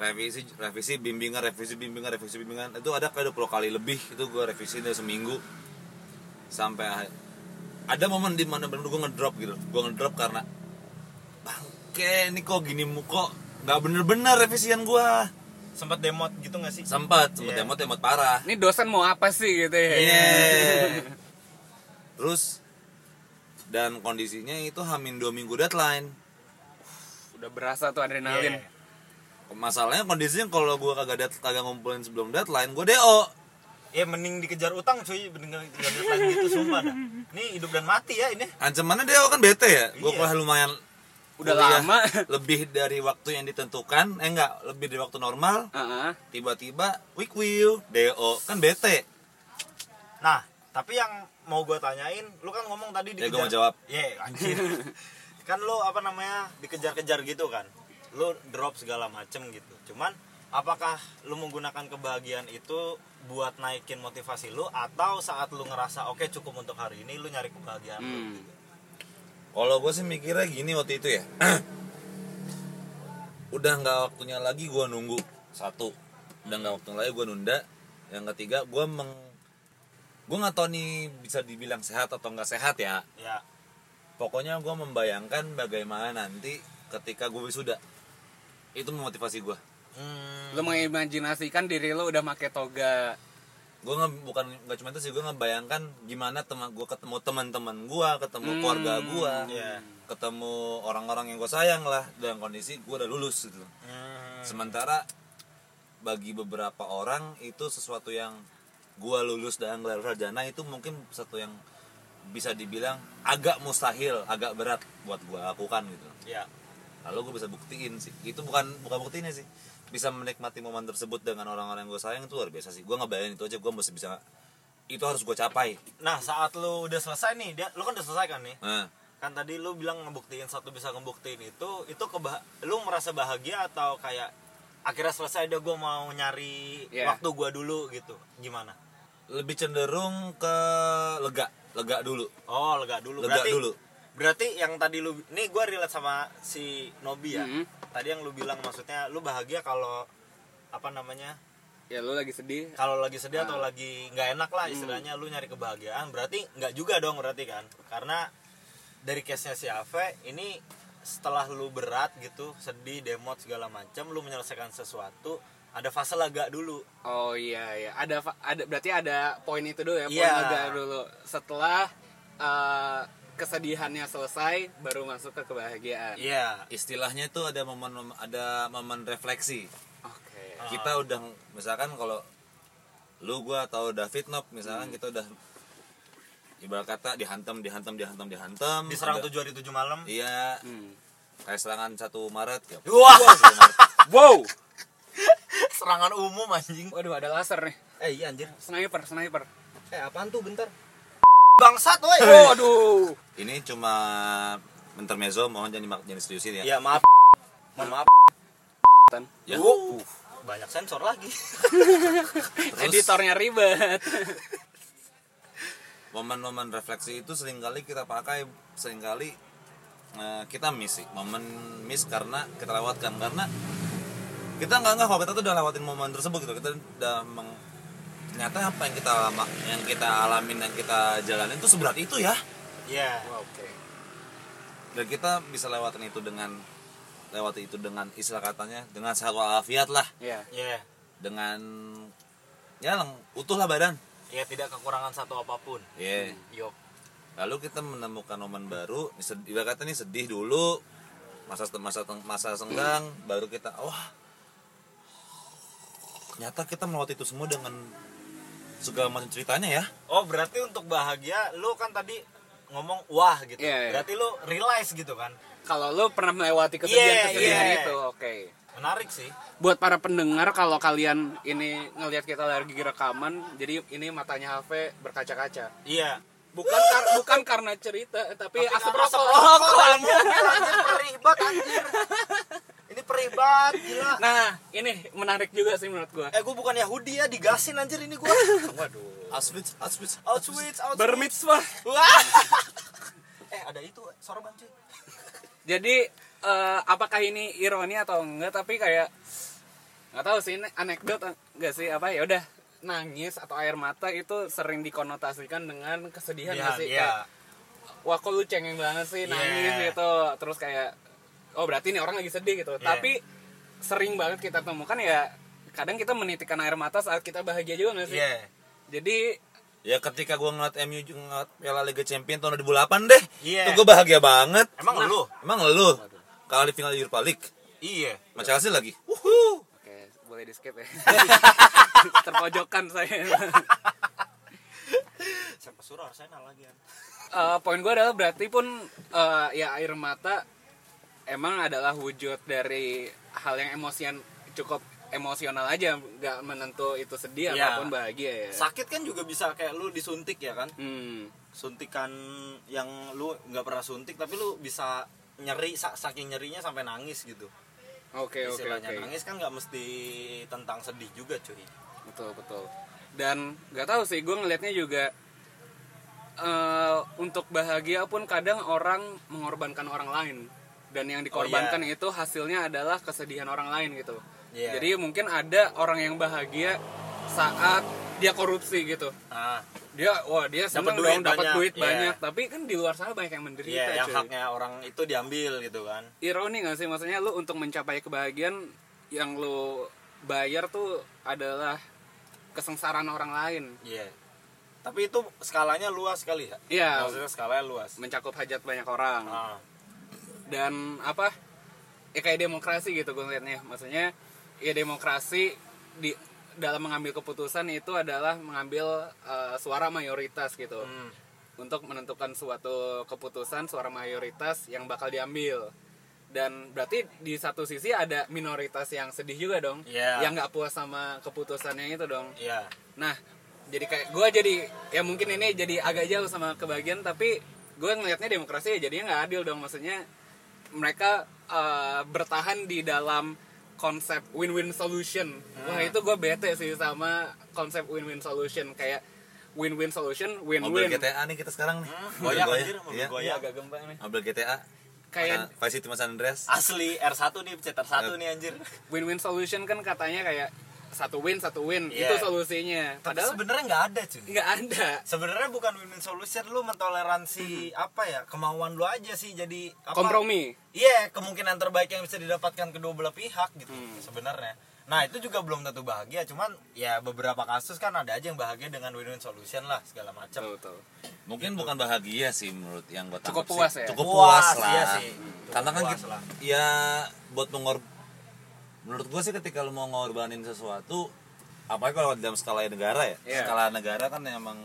Speaker 2: revisi revisi bimbingan revisi bimbingan revisi bimbingan itu ada kayak 20 kali lebih itu gue revisi dari seminggu sampai akhir- ada momen di mana benar gue ngedrop gitu gue ngedrop karena bangke ini kok gini mu- kok nggak bener-bener revisian gue
Speaker 3: Sempet demot gitu gak sih?
Speaker 2: sempat sempat
Speaker 3: Iya.
Speaker 2: emot emot parah
Speaker 1: Ini dosen mau apa sih gitu ya?
Speaker 2: Iya. terus dan kondisinya itu hamin dua minggu deadline
Speaker 1: Udah berasa tuh adrenalin.
Speaker 3: Iya.
Speaker 2: masalahnya kondisinya kalau gue kagak dat kagak ngumpulin sebelum deadline gue do
Speaker 3: Ya mending dikejar utang cuy, mending dikejar deadline gitu sumpah dah. Ini hidup dan mati ya ini.
Speaker 2: ancamannya do kan bete ya gue
Speaker 3: Iya.
Speaker 2: kuliah lumayan
Speaker 1: Udah
Speaker 2: kuliah
Speaker 1: lama.
Speaker 2: lebih dari waktu yang ditentukan eh enggak lebih dari waktu normal
Speaker 1: Heeh.
Speaker 2: tiba-tiba week will do kan bete
Speaker 3: Nah, tapi yang mau gue tanyain, lu kan ngomong tadi
Speaker 2: Ya,
Speaker 3: dikejar.
Speaker 2: gua mau jawab.
Speaker 3: Ye, anjir. kan lu apa namanya dikejar-kejar gitu kan. Lu drop segala macem gitu. Cuman apakah lu menggunakan kebahagiaan itu buat naikin motivasi lu atau saat lu ngerasa oke cukup untuk hari ini lu nyari kebahagiaan lu
Speaker 1: Hmm.
Speaker 3: gitu.
Speaker 2: kalau gue sih mikirnya gini waktu itu ya udah nggak waktunya lagi gue nunggu satu udah nggak waktunya lagi gue nunda yang ketiga gue meng gue nggak tahu nih bisa dibilang sehat atau nggak sehat ya
Speaker 3: ya
Speaker 2: pokoknya gue membayangkan bagaimana nanti ketika gue wisuda itu memotivasi gue
Speaker 3: hmm,
Speaker 1: Lo mengimajinasikan diri lo udah make toga.
Speaker 2: gue nge, bukan nggak cuma itu sih gue ngebayangkan gimana teman gue ketemu teman-teman gue ketemu keluarga gue
Speaker 3: Hmm, Iya.
Speaker 2: ketemu orang-orang yang gue sayang lah dalam kondisi gue udah lulus gitu loh.
Speaker 3: hmm,
Speaker 2: sementara bagi beberapa orang itu sesuatu yang gue lulus dan gelar sarjana itu mungkin satu yang bisa dibilang agak mustahil agak berat buat gue lakukan gitu loh.
Speaker 3: ya
Speaker 2: lalu gue bisa buktiin sih itu bukan bukan buktinya sih bisa menikmati momen tersebut dengan orang-orang yang gue sayang itu luar biasa sih gue ngebayangin itu aja gue mesti bisa itu harus gue capai
Speaker 3: nah saat lu udah selesai nih dia lu kan udah selesai kan nih
Speaker 2: nah,
Speaker 3: kan tadi lu bilang ngebuktiin satu bisa ngebuktiin itu itu keba- lu merasa bahagia atau kayak akhirnya selesai deh gue mau nyari
Speaker 1: Iya.
Speaker 3: waktu gue dulu gitu gimana
Speaker 2: lebih cenderung ke lega lega dulu
Speaker 3: oh lega dulu
Speaker 2: Lega
Speaker 3: berarti
Speaker 2: dulu.
Speaker 3: berarti yang tadi lu nih gue relate sama si Nobi ya
Speaker 2: Mm-hmm.
Speaker 1: Mhm.
Speaker 3: tadi yang lu bilang maksudnya lu bahagia kalau apa namanya
Speaker 1: Ya lo lagi sedih.
Speaker 3: kalau lagi sedih atau lagi nggak enak lah istilahnya lu nyari kebahagiaan berarti nggak juga dong berarti kan karena dari case nya si Ave ini setelah lu berat gitu sedih demot segala macam lu menyelesaikan sesuatu ada fase lega dulu
Speaker 1: Oh iya iya. Ada fa- ada berarti ada poin itu dulu ya. Poin
Speaker 3: Iya.
Speaker 1: lega dulu. Setelah eh, kesedihannya selesai, baru masuk ke kebahagiaan.
Speaker 3: iya
Speaker 2: istilahnya itu ada momen ada momen refleksi
Speaker 1: Oke.
Speaker 3: Ah.
Speaker 2: kita udah misalkan kalau lu gua atau David Nop
Speaker 3: Hmm.
Speaker 2: misalkan kita udah ibarat kata dihantam dihantam dihantam dihantam
Speaker 3: diserang
Speaker 2: Ada-
Speaker 3: tujuh hari tujuh malam
Speaker 2: iya
Speaker 1: Hmm.
Speaker 2: kayak serangan 1 Maret ya
Speaker 3: Wah.
Speaker 2: 1 Maret.
Speaker 1: Wow.
Speaker 3: serangan umum anjing
Speaker 1: Waduh ada laser nih.
Speaker 3: eh iya anjir
Speaker 1: Sniper, sniper.
Speaker 3: eh apaan tuh bentar Eh. bangsat woi Oh,
Speaker 1: Waduh.
Speaker 2: ini cuma intermezzo mohon jangan dimak- jangan diseriusin
Speaker 3: ya
Speaker 2: ya
Speaker 3: maaf mohon maaf
Speaker 1: Tan.
Speaker 2: Ya.
Speaker 3: Uh, banyak sensor lagi
Speaker 1: Editornya ribet.
Speaker 2: momen-momen refleksi itu seringkali kita pakai seringkali eh, kita miss sih. momen miss karena kita lewatkan karena kita nggak nggak kalau kita tuh udah lewatin momen tersebut gitu kita udah meng- ternyata apa yang kita lama yang kita alamin yang kita jalanin itu seberat itu ya
Speaker 3: iya
Speaker 1: Oke.
Speaker 2: dan kita bisa lewatin itu dengan lewati itu dengan istilah katanya dengan sehat walafiat lah
Speaker 1: Iya.
Speaker 3: iya
Speaker 2: dengan ya lang, utuh lah badan
Speaker 3: ya tidak kekurangan satu apapun
Speaker 2: Iya.
Speaker 3: yuk
Speaker 2: lalu kita menemukan momen baru Sed- ibarat kata nih sedih dulu masa masa masa senggang baru kita wah ternyata kita melewati itu semua dengan segala macam ceritanya ya
Speaker 3: Oh berarti untuk bahagia lu kan tadi ngomong wah gitu.
Speaker 1: Iya, iya.
Speaker 3: Berarti lu realize gitu kan.
Speaker 1: Kalau lo pernah melewati kesedihan-kesedihan
Speaker 3: Iya, iya.
Speaker 1: itu, oke.
Speaker 3: Menarik sih.
Speaker 1: buat para pendengar kalau kalian ini ngelihat kita lagi rekaman jadi ini matanya HP berkaca-kaca
Speaker 3: Iya.
Speaker 1: bukan kar- bukan karena cerita tapi, asap
Speaker 3: Karena
Speaker 1: rokok
Speaker 3: rokok, anjir. Anjir, perih banget, anjir. Ini perih banget gila.
Speaker 1: nah ini menarik juga sih menurut gua
Speaker 3: Eh gue bukan Yahudi ya digasin anjir ini gue. Waduh.
Speaker 2: Auschwitz Auschwitz
Speaker 3: Auschwitz, Auschwitz.
Speaker 1: bermitzvah
Speaker 3: Wah. eh ada itu sorban cuy.
Speaker 1: jadi eh, apakah ini ironi atau enggak tapi kayak nggak tahu sih ini anekdot enggak sih apa ya udah nangis atau air mata itu sering dikonotasikan dengan kesedihan nggak sih Kayak,
Speaker 3: Iya.
Speaker 1: wah kok lu cengeng banget sih nangis
Speaker 3: Yeah.
Speaker 1: gitu terus kayak oh berarti ini orang lagi sedih
Speaker 3: Yeah.
Speaker 1: gitu tapi sering banget kita temukan ya kadang kita menitikkan air mata saat kita bahagia juga nggak sih
Speaker 3: Iya.
Speaker 1: jadi
Speaker 2: ya ketika gua ngeliat MU ju- ngeliat Piala Liga Champion tahun 2008 deh
Speaker 3: Iya.
Speaker 2: itu gue bahagia banget
Speaker 3: Emang lu?
Speaker 2: emang lu kali final Europa League
Speaker 3: Iya.
Speaker 2: sama Chelsea lagi Wuhu.
Speaker 1: oke boleh di skip ya terpojokan saya
Speaker 3: Siapa suruh Arsenal lagi ya?
Speaker 1: Eh, poin gue adalah berarti pun eh, ya air mata emang adalah wujud dari hal yang emosian cukup emosional aja nggak menentu itu sedih
Speaker 3: Yeah.
Speaker 1: ataupun bahagia ya
Speaker 3: Sakit kan juga bisa kayak lu disuntik ya kan?
Speaker 1: hmm.
Speaker 3: suntikan yang lu nggak pernah suntik tapi lu bisa nyeri sa- saking nyerinya sampai nangis gitu
Speaker 1: oke oke
Speaker 3: istilahnya
Speaker 1: oke
Speaker 3: nangis kan nggak mesti tentang sedih juga cuy
Speaker 1: betul betul dan nggak tahu sih gue ngelihatnya juga eh, untuk bahagia pun kadang orang mengorbankan orang lain dan
Speaker 3: Oh,
Speaker 1: yang dikorbankan itu hasilnya adalah kesedihan orang lain gitu
Speaker 3: Iya.
Speaker 1: jadi mungkin ada orang yang bahagia saat dia korupsi gitu
Speaker 3: Ah,
Speaker 1: dia wah dia seneng
Speaker 3: duit
Speaker 1: dong dapat
Speaker 3: banyak,
Speaker 1: duit
Speaker 3: iya.
Speaker 1: banyak tapi kan di luar sana banyak yang menderita
Speaker 3: iya, yang
Speaker 1: cuy.
Speaker 3: haknya orang itu diambil gitu kan.
Speaker 1: ironi gak sih maksudnya lu untuk mencapai kebahagiaan yang lu bayar tuh adalah kesengsaraan orang lain
Speaker 3: Iya. Tapi itu skalanya luas sekali ya.
Speaker 1: Iya.
Speaker 3: Maksudnya skalanya luas.
Speaker 1: mencakup hajat banyak orang
Speaker 3: Ah,
Speaker 1: dan apa ya kayak demokrasi gitu gue ngeliatnya maksudnya ya demokrasi di dalam mengambil keputusan itu adalah mengambil eh, suara mayoritas gitu
Speaker 3: hmm.
Speaker 1: untuk menentukan suatu keputusan suara mayoritas yang bakal diambil dan berarti di satu sisi ada minoritas yang sedih juga dong
Speaker 3: Iya.
Speaker 1: yang nggak puas sama keputusannya itu dong
Speaker 3: Iya.
Speaker 1: nah jadi kayak gue jadi ya mungkin ini jadi agak jauh sama kebagian tapi gue ngelihatnya demokrasi ya jadinya nggak adil dong maksudnya mereka eh, bertahan di dalam konsep win-win solution wah itu gue bete sih sama konsep win-win solution kayak win-win solution
Speaker 2: mobil gitu ya?
Speaker 1: win-win
Speaker 2: GTA nih kita sekarang nih
Speaker 3: Hmm,
Speaker 2: Mobil
Speaker 3: goyang anjir, mobil
Speaker 2: iya.
Speaker 3: goyang.
Speaker 1: Iya, agak gempa nih.
Speaker 2: mobil GTA
Speaker 1: Kayak
Speaker 2: Nah, Vice City Mas Andreas
Speaker 3: Asli R1 nih, cetar satu nih anjir.
Speaker 1: win-win solution kan katanya kayak satu win satu win
Speaker 3: Iya.
Speaker 1: itu solusinya.
Speaker 3: Tapi
Speaker 1: Padahal
Speaker 3: sebenarnya nggak ada cuy.
Speaker 1: nggak ada.
Speaker 3: Sebenarnya bukan win-win solution lu mentoleransi apa ya kemauan lu aja sih jadi apa?
Speaker 1: Kompromi.
Speaker 3: Iya kemungkinan terbaik yang bisa didapatkan kedua belah pihak gitu sebenarnya. Nah itu juga belum tentu bahagia cuman ya beberapa kasus kan ada aja yang bahagia dengan win-win solution lah segala macam.
Speaker 1: Betul, betul.
Speaker 2: mungkin bukan bahagia sih menurut yang gue
Speaker 1: Cukup
Speaker 2: tangkap
Speaker 1: puas
Speaker 2: sih.
Speaker 1: ya?
Speaker 2: cukup
Speaker 3: Gitu. Puas,
Speaker 2: puas, lah
Speaker 3: iya sih. Cukup
Speaker 2: karena kan
Speaker 3: puas
Speaker 2: kita,
Speaker 3: lah.
Speaker 2: ya buat mengor menurut gue sih ketika lu mau ngorbanin sesuatu apalagi kalau dalam skala negara ya
Speaker 1: Iya.
Speaker 2: skala negara kan emang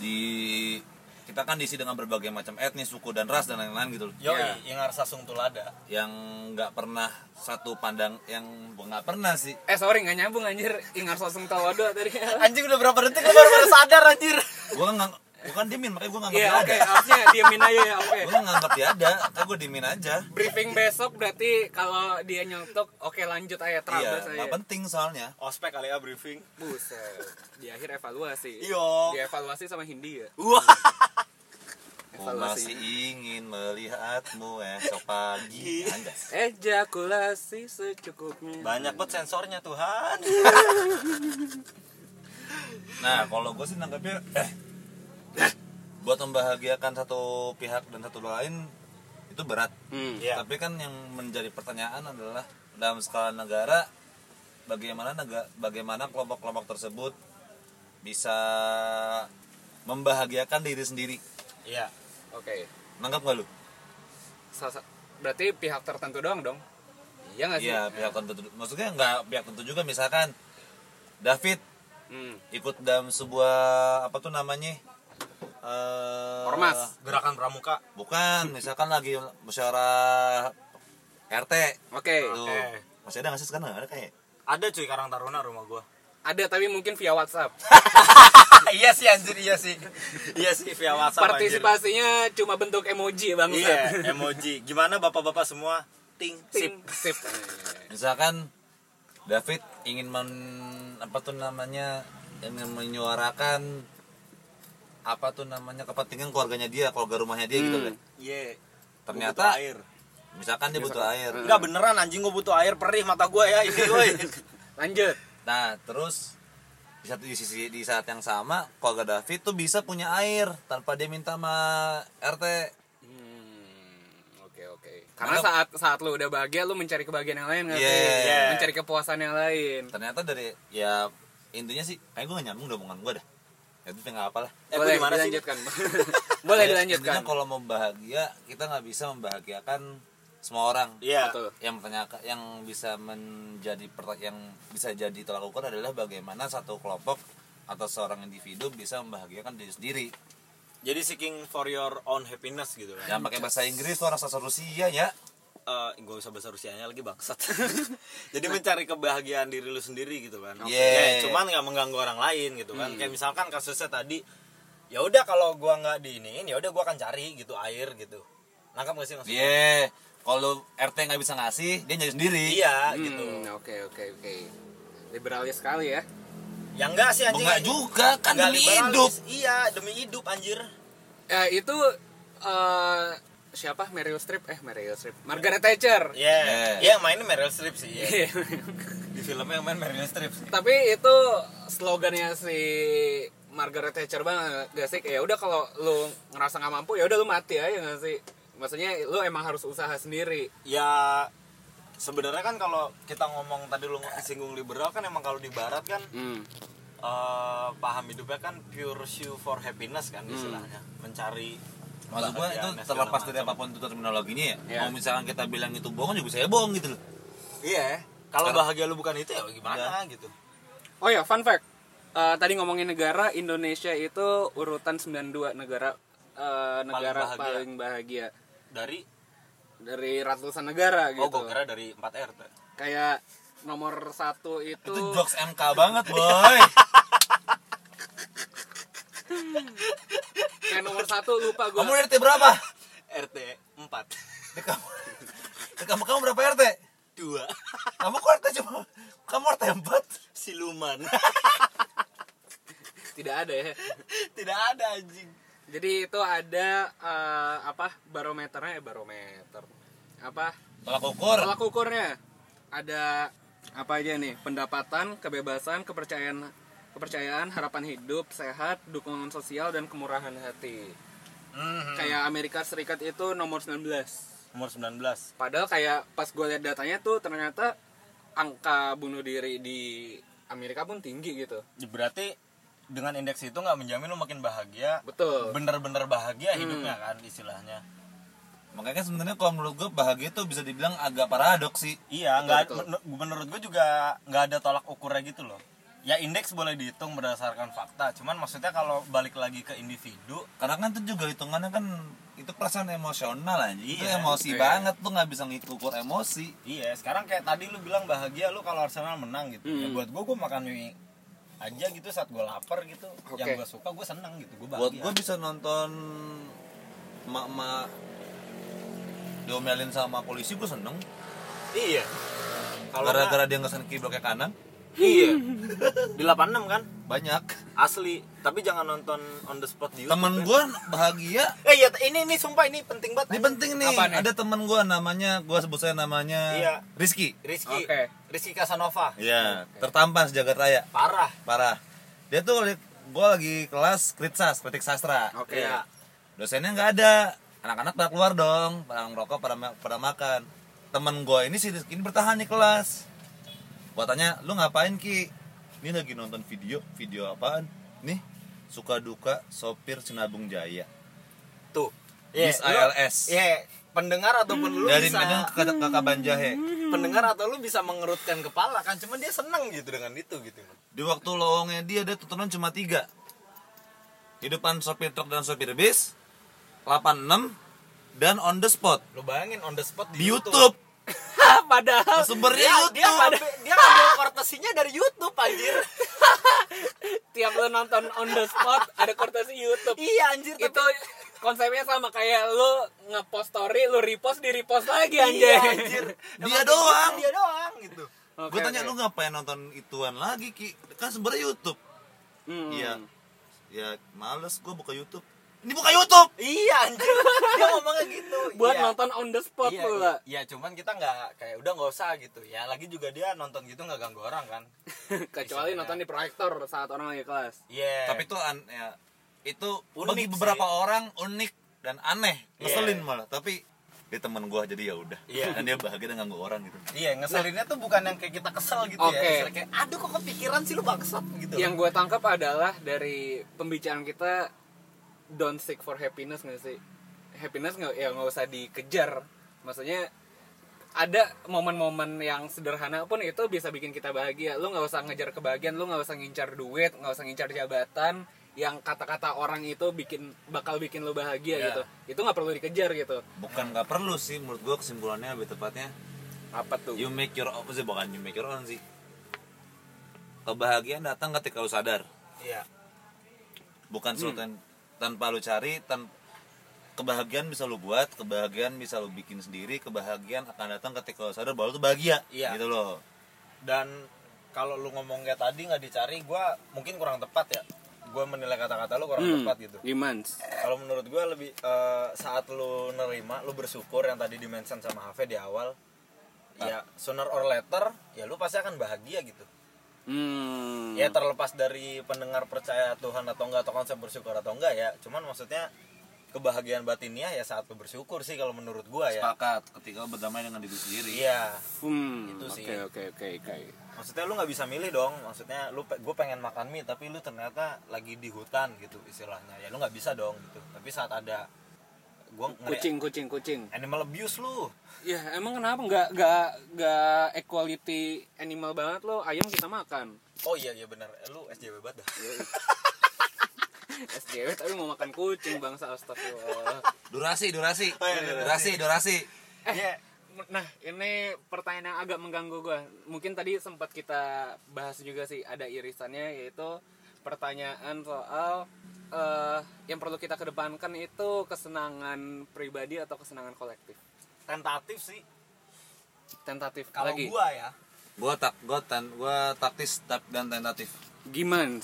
Speaker 2: di kita kan diisi dengan berbagai macam etnis suku dan ras dan lain-lain gitu loh.
Speaker 3: Yo yang harus asung tulada.
Speaker 2: yang nggak pernah satu pandang yang nggak pernah sih
Speaker 1: Eh sorry nggak nyambung anjir. Ingat langsung tawado tadi.
Speaker 3: Anjing udah berapa detik lu baru, baru sadar anjir.
Speaker 2: gue nggak bukan dimin makanya gue nggak
Speaker 1: Iya
Speaker 2: nganggap
Speaker 1: oke,
Speaker 2: dia ada
Speaker 1: harusnya diemin aja ya oke.
Speaker 2: gue nganggap dia ada tapi gue dimin aja
Speaker 1: Briefing besok berarti kalau dia nyontok oke lanjut aja
Speaker 2: iya
Speaker 1: terabas aja.
Speaker 2: nggak penting soalnya
Speaker 3: Ospek kali ya briefing. Iya.
Speaker 1: Buset. Di akhir evaluasi.
Speaker 2: Iya.
Speaker 3: Yo.
Speaker 1: Di evaluasi sama Hindi ya.
Speaker 3: Wah.
Speaker 2: Ku masih ingin melihatmu esok pagi Anjas.
Speaker 1: Ejakulasi secukupnya.
Speaker 3: Banyak banget sensornya Tuhan.
Speaker 2: Nah kalau gue sih nanggapnya eh, Buat membahagiakan satu pihak dan satu lain Itu berat
Speaker 1: Hmm.
Speaker 3: Iya.
Speaker 2: Tapi kan yang menjadi pertanyaan adalah Dalam skala negara Bagaimana nega- bagaimana kelompok-kelompok tersebut Bisa Membahagiakan diri sendiri
Speaker 3: Iya.
Speaker 1: Oke.
Speaker 2: Nanggap gak lu?
Speaker 1: Salah sa- Berarti pihak tertentu doang dong. Iya nggak sih?
Speaker 2: Iya pihak tentu Maksudnya nggak pihak tentu juga misalkan David
Speaker 1: Hmm.
Speaker 2: ikut dalam sebuah apa tuh namanya eh,
Speaker 1: Ormas.
Speaker 3: Gerakan pramuka.
Speaker 2: bukan misalkan lagi musyawarah RT
Speaker 1: Oke.
Speaker 2: Tuh. masih ada nggak sih sekarang Nggak ada kayak
Speaker 3: Ada cuy Karang Taruna rumah gua.
Speaker 1: Ada tapi mungkin via WhatsApp.
Speaker 3: iya sih anjir, iya sih. Iya sih via WhatsApp anjir.
Speaker 1: Partisipasinya cuma bentuk emoji bang.
Speaker 3: Iya, emoji. Gimana bapak-bapak semua? Ting, sip.
Speaker 1: Sip. Sip.
Speaker 2: misalkan David ingin men apa tuh namanya ingin menyuarakan apa tuh namanya kepentingan keluarganya dia keluarga rumahnya dia gitu loh
Speaker 3: Iya. Butuh
Speaker 2: Ternyata-
Speaker 3: air.
Speaker 2: misalkan dia butuh air
Speaker 3: Enggak beneran anjing gua butuh air perih mata gua ya ini woi.
Speaker 1: Lanjut.
Speaker 2: nah terus di satu di sisi di saat yang sama keluarga David tuh bisa punya air tanpa dia minta sama RT
Speaker 1: Hmm, Oke oke. Karena saat saat lu udah bahagia, lu mencari kebahagiaan yang lain nggak sih?
Speaker 2: Iya.
Speaker 3: Iya.
Speaker 1: Mencari kepuasan yang lain.
Speaker 2: ternyata dari ya intinya sih kayak gue gak nyambung deh omongan gue dah ya itu nggak apa lah
Speaker 3: Eh,
Speaker 1: Boleh
Speaker 3: gimana sih?
Speaker 1: dilanjutkan. Boleh
Speaker 2: Ya,
Speaker 1: dilanjutkan.
Speaker 2: intinya kalau mau bahagia kita nggak bisa membahagiakan semua orang
Speaker 3: Iya.
Speaker 1: Betul.
Speaker 2: yang pertanya yang bisa menjadi perta- yang bisa jadi tolak ukur adalah bagaimana satu kelompok atau seorang individu bisa membahagiakan diri sendiri
Speaker 3: Jadi seeking for your own happiness gitu kan.
Speaker 2: yang pakai bahasa Inggris tuh orang sastra Rusia ya
Speaker 3: Eh, gak usah bahasa Rusianya lagi bangsat. Jadi mencari kebahagiaan diri lu sendiri gitu kan.
Speaker 2: Oke.
Speaker 3: Ya, cuman nggak mengganggu orang lain gitu kan. Kayak misalkan kasusnya tadi ya udah kalau gua nggak diinin ya udah gua akan cari gitu air gitu. Nangkap gak sih maksudnya?
Speaker 2: dia Iya, kalau RT nggak bisa ngasih dia nyari sendiri
Speaker 3: Iya
Speaker 1: Hmm,
Speaker 3: gitu.
Speaker 1: Oke oke oke. Liberalis sekali ya.
Speaker 3: Ya enggak sih anjing.
Speaker 2: enggak juga kan
Speaker 3: Nggak
Speaker 2: demi
Speaker 3: iya, liberalis.
Speaker 2: hidup
Speaker 3: Iya, demi hidup anjir.
Speaker 1: Ya, itu eh, siapa Meryl Streep eh Meryl Streep Margaret Thatcher
Speaker 3: Iya,
Speaker 2: Yeah.
Speaker 3: iya mainnya Meryl Streep sih. iya. Di filmnya yang main Meryl Streep sih.
Speaker 1: tapi itu slogannya si Margaret Thatcher banget gak sih ya udah kalau lu ngerasa nggak mampu ya udah lu mati aja gak sih maksudnya lu emang harus usaha sendiri
Speaker 3: Ya sebenarnya kan kalau kita ngomong tadi lu singgung liberal kan emang kalau di barat kan eh, paham hidupnya kan pursuit for happiness kan istilahnya. Mencari
Speaker 2: Maksud gua itu
Speaker 3: kebahagiaan dan segala
Speaker 2: terlepas dari
Speaker 3: macam.
Speaker 2: apapun itu terminologinya ya.
Speaker 1: Iya.
Speaker 2: Mau misalkan kita bilang itu bohong juga saya bohong gitu loh.
Speaker 3: Iya. Kalau bahagia lu bukan itu ya gimana gitu.
Speaker 1: oh ya fun fact Eh, tadi ngomongin negara Indonesia itu urutan 92 negara eh, negara
Speaker 3: bahagia.
Speaker 1: paling bahagia.
Speaker 3: Dari
Speaker 1: dari ratusan negara gitu
Speaker 3: oh gua kira dari 4 RT.
Speaker 1: kayak nomor satu itu,
Speaker 2: Itu jokes MK banget, boy.
Speaker 1: kayak nomor satu lupa
Speaker 2: Kamu
Speaker 1: gue
Speaker 2: RT berapa?
Speaker 3: RT 4.
Speaker 2: Di Kamu, di kamu, kamu berapa RT?
Speaker 3: 2.
Speaker 2: Kamu kok RT cuma kamu RT empat?
Speaker 3: Siluman.
Speaker 1: tidak ada ya
Speaker 3: Tidak ada anjing.
Speaker 1: jadi itu ada eh, apa barometernya eh, barometer apa
Speaker 2: Tolak ukur.
Speaker 1: tolak ukurnya ada apa aja nih pendapatan kebebasan kepercayaan kepercayaan harapan hidup sehat dukungan sosial dan kemurahan hati kayak Amerika Serikat itu nomor 19
Speaker 3: Mhm. Umur 19.
Speaker 1: Padahal kayak pas gue lihat datanya tuh ternyata angka bunuh diri di Amerika pun tinggi gitu.
Speaker 3: Ya, berarti dengan indeks itu nggak menjamin lu makin bahagia
Speaker 1: Betul.
Speaker 3: bener-bener bahagia hidupnya kan istilahnya
Speaker 2: Makanya kan sebenarnya kalau menurut gua bahagia itu bisa dibilang agak paradoks sih.
Speaker 3: iya
Speaker 1: Betul,
Speaker 3: nggak
Speaker 1: betul.
Speaker 3: menur- menurut gue juga nggak ada tolak ukurnya gitu loh ya indeks boleh dihitung berdasarkan fakta cuman maksudnya kalau balik lagi ke individu
Speaker 2: Karena kan itu juga hitungannya kan itu perasaan emosional aja. Itu
Speaker 3: Iya,
Speaker 2: emosi
Speaker 1: iya.
Speaker 2: banget tuh nggak bisa ngikukur emosi.
Speaker 3: iya sekarang kayak tadi lu bilang bahagia lu kalau Arsenal menang gitu ya buat gue gue makan mie aja gitu saat gue lapar gitu yang
Speaker 1: Oke.
Speaker 3: gue suka gue seneng gitu gue
Speaker 2: Buat
Speaker 3: bahagia
Speaker 2: gua bisa nonton mak-mak diomelin sama polisi gua seneng.
Speaker 3: iya kalau nggak-
Speaker 2: Gara-gara dia ngesan kiri bloknya kanan
Speaker 3: iya di 86 kan
Speaker 2: banyak.
Speaker 3: asli tapi jangan nonton on the spot di YouTube
Speaker 2: Temen
Speaker 3: ya.
Speaker 2: gua bahagia
Speaker 3: Eh iya ini ini sumpah ini penting banget.
Speaker 2: Ini penting nih.
Speaker 1: Apa nih?
Speaker 2: Ada teman gua namanya, gua sebut saya namanya
Speaker 3: Iya.
Speaker 2: Rizky.
Speaker 3: Rizky.
Speaker 1: Oke.
Speaker 3: Rizky Casanova.
Speaker 2: Iya, tertampan sejak raya.
Speaker 3: Parah.
Speaker 2: Parah. Dia tuh li- gua lagi kelas kritsas, kritik sastra.
Speaker 1: Oke.
Speaker 3: Iya.
Speaker 2: Dosennya nggak ada. Anak-anak pada keluar dong, pada ngerokok, pada, ma- pada makan. Temen gua ini si Rizky ini bertahan di kelas. Gua tanya, "Lu ngapain, Ki?" Ini lagi nonton video, video apaan? Nih, suka duka sopir Sinabung Jaya.
Speaker 3: Tuh.
Speaker 2: Bis ALS.
Speaker 3: Iya. Pendengar ataupun lu
Speaker 2: Dari
Speaker 3: bisa
Speaker 2: Medan ke Kakak Banjahe.
Speaker 3: pendengar atau lu bisa mengerutkan kepala kan cuman dia seneng gitu dengan itu gitu.
Speaker 2: Di waktu lowongnya dia ada tuntunan cuma tiga. Di depan sopir truk dan sopir bis, 86 dan on the spot
Speaker 3: Lu bayangin on the spot
Speaker 2: di YouTube.
Speaker 1: Padahal
Speaker 2: Sumbernya
Speaker 3: Dia
Speaker 2: YouTube.
Speaker 3: dia ngambil, dia ngambil kortesinya dari YouTube anjir.
Speaker 1: tiap lo nonton on the spot ada kortesi YouTube.
Speaker 3: iya anjir tapi
Speaker 1: itu konsepnya sama kayak lo ngepost story, lo repost di repost lagi
Speaker 3: iya,
Speaker 1: anjay.
Speaker 3: anjir.
Speaker 2: Dia
Speaker 3: Emang
Speaker 2: doang.
Speaker 3: Dia doang gitu.
Speaker 1: Oke,
Speaker 2: Gue tanya
Speaker 1: oke.
Speaker 2: lu ngapain nonton ituan lagi ki? Kan sebenarnya YouTube.
Speaker 1: Hmm.
Speaker 2: Iya. Ya males gue buka YouTube. Ini buka YouTube.
Speaker 3: Iya anjir. Dia ngomongnya gitu.
Speaker 1: Buat
Speaker 3: Iya.
Speaker 1: nonton on the spot
Speaker 3: iya,
Speaker 1: pula.
Speaker 3: iya, cuman kita nggak kayak udah nggak usah gitu ya lagi juga dia nonton gitu nggak ganggu orang kan
Speaker 1: Kecuali
Speaker 3: Misalnya.
Speaker 1: nonton di proyektor saat orang lagi kelas.
Speaker 3: iya
Speaker 2: Tapi itu an ya, itu
Speaker 3: Unik
Speaker 2: bagi
Speaker 3: sih.
Speaker 2: beberapa orang unik dan aneh, ngeselin
Speaker 3: Iya.
Speaker 2: malah. Tapi dia teman gue jadi ya udah.
Speaker 3: Iya.
Speaker 2: Dan dia bahagia dengan gua orang gitu.
Speaker 3: iya ngeselinnya tuh bukan yang kayak kita kesel gitu
Speaker 1: Oke.
Speaker 3: ya Misalnya kayak aduh kok kepikiran sih lu bangsat gitu
Speaker 1: Yang gue tangkap adalah dari pembicaraan kita don't seek for happiness nggak sih? Happiness nggak ya nggak usah dikejar. Maksudnya ada momen-momen yang sederhana pun itu bisa bikin kita bahagia. Lu nggak usah ngejar kebahagiaan, lu nggak usah ngincar duit, nggak usah ngincar jabatan. Yang kata-kata orang itu bikin bakal bikin lu bahagia
Speaker 2: Iya.
Speaker 3: Ya.
Speaker 1: gitu. Itu nggak perlu dikejar gitu.
Speaker 2: Bukan nggak perlu sih menurut gue kesimpulannya lebih tepatnya
Speaker 1: Apa tuh?
Speaker 2: You make your own sih bukan you make your own sih. Kebahagiaan datang ketika lu sadar,
Speaker 3: iya
Speaker 2: bukan suatu yang tanpa lu cari. tan- kebahagiaan bisa lu buat, kebahagiaan bisa lu bikin sendiri, kebahagiaan akan datang ketika lu sadar bahwa lu tuh bahagia.
Speaker 3: Iya.
Speaker 2: Gitu loh.
Speaker 3: dan kalau lu ngomong kayak tadi nggak dicari gua mungkin kurang tepat ya gue menilai kata-kata lu
Speaker 1: Hmm.
Speaker 3: kurang tepat gitu
Speaker 1: demands
Speaker 3: kalau menurut gue lebih eh, saat lu nerima lu bersyukur yang tadi dimention sama Hafe di awal
Speaker 1: Ah.
Speaker 3: ya sooner or later ya lu pasti akan bahagia gitu
Speaker 1: hmm.
Speaker 3: ya terlepas dari pendengar percaya Tuhan atau enggak atau konsep bersyukur atau enggak ya cuman maksudnya kebahagiaan batinnya ya saat lu bersyukur sih kalau menurut gue ya
Speaker 2: sepakat ketika lo berdamai dengan diri sendiri
Speaker 3: iya
Speaker 1: Hmm,
Speaker 3: Itu sih.
Speaker 1: oke oke oke oke.
Speaker 3: maksudnya lu nggak bisa milih dong maksudnya lu gue pengen makan mie tapi lu ternyata lagi di hutan gitu istilahnya ya lu nggak bisa dong gitu tapi saat ada gue
Speaker 1: Kucing kucing kucing.
Speaker 3: animal abuse lu
Speaker 1: Ya emang kenapa nggak nggak nggak equality animal banget lo ayam kita makan.
Speaker 3: oh iya iya benar Eh, lu SJW banget dah
Speaker 1: SJW tapi mau makan kucing bangsa astagfirullah.
Speaker 2: durasi durasi
Speaker 3: Oh, iya,
Speaker 2: durasi durasi
Speaker 3: Iya.
Speaker 1: Nah ini pertanyaan yang agak mengganggu gue. Mungkin tadi sempat kita bahas juga sih ada irisannya yaitu pertanyaan soal eh, yang perlu kita kedepankan itu kesenangan pribadi atau kesenangan kolektif.
Speaker 3: tentatif sih
Speaker 1: Tentatif
Speaker 3: kalau
Speaker 1: lagi.
Speaker 3: gua ya
Speaker 2: gua tak gua tan gua taktis tap- dan tentatif
Speaker 1: Gimana?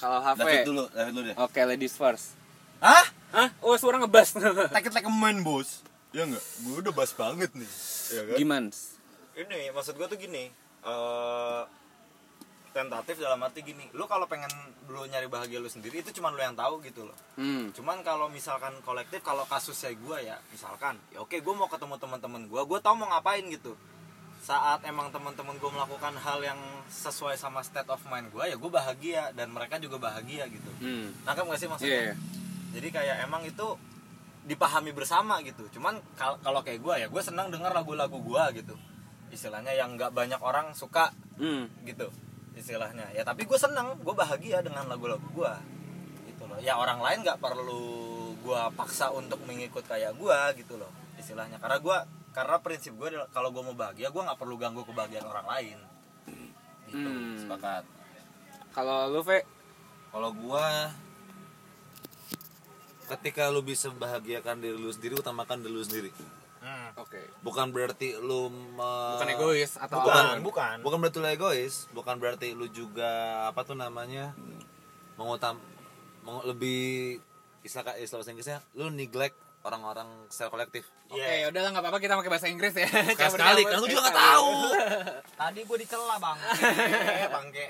Speaker 1: Kalau HP.
Speaker 2: David dulu David dulu deh
Speaker 1: Oke, ladies first.
Speaker 3: hah
Speaker 1: Hah? Oh, suara ngebas.
Speaker 3: takut like a man bos ya enggak gue udah bas banget nih ya kan?
Speaker 1: Gimana?
Speaker 3: ini maksud gue tuh gini eh tentatif dalam arti gini lu kalau pengen lu nyari bahagia lu sendiri itu cuman lu yang tahu gitu loh
Speaker 1: Hmm.
Speaker 3: cuman kalau misalkan kolektif kalau kasusnya gue ya misalkan ya oke gue mau ketemu teman-teman gue gue tau mau ngapain gitu saat emang teman-teman gue melakukan hal yang sesuai sama state of mind gue ya gue bahagia dan mereka juga bahagia gitu
Speaker 1: Hmm.
Speaker 3: nangkep gak sih maksudnya
Speaker 1: Iya.
Speaker 3: jadi kayak emang itu dipahami bersama gitu cuman kal- kalau kayak gue ya gue senang dengar lagu-lagu gue gitu istilahnya yang nggak banyak orang suka
Speaker 1: Hmm.
Speaker 3: gitu istilahnya ya tapi gue senang gue bahagia dengan lagu-lagu gue gitu loh ya orang lain nggak perlu gue paksa untuk mengikut kayak gue gitu loh istilahnya karena gue karena prinsip gue kalau gue mau bahagia gue nggak perlu ganggu kebahagiaan orang lain gitu
Speaker 1: Hmm.
Speaker 2: sepakat
Speaker 1: Kalau lu, Fe?
Speaker 2: kalau gua ketika lu bisa bahagiakan diri lu sendiri utamakan diri lu sendiri
Speaker 3: Hmm.
Speaker 1: Oke.
Speaker 2: bukan berarti lu me-
Speaker 1: Bukan egois atau
Speaker 3: bukan
Speaker 1: apa?
Speaker 3: bukan
Speaker 2: Eh, bukan berarti lu egois bukan berarti lu juga apa tuh namanya mengutam meng- lebih istilah istilah bahasa Inggrisnya lu neglect orang-orang secara kolektif
Speaker 1: Oke,
Speaker 3: Iya.
Speaker 1: udah lah enggak apa-apa kita pakai bahasa Inggris ya.
Speaker 2: Sekali sekali karena gue juga
Speaker 1: iya,
Speaker 2: nggak tahu
Speaker 3: tadi gue dicela bang bangke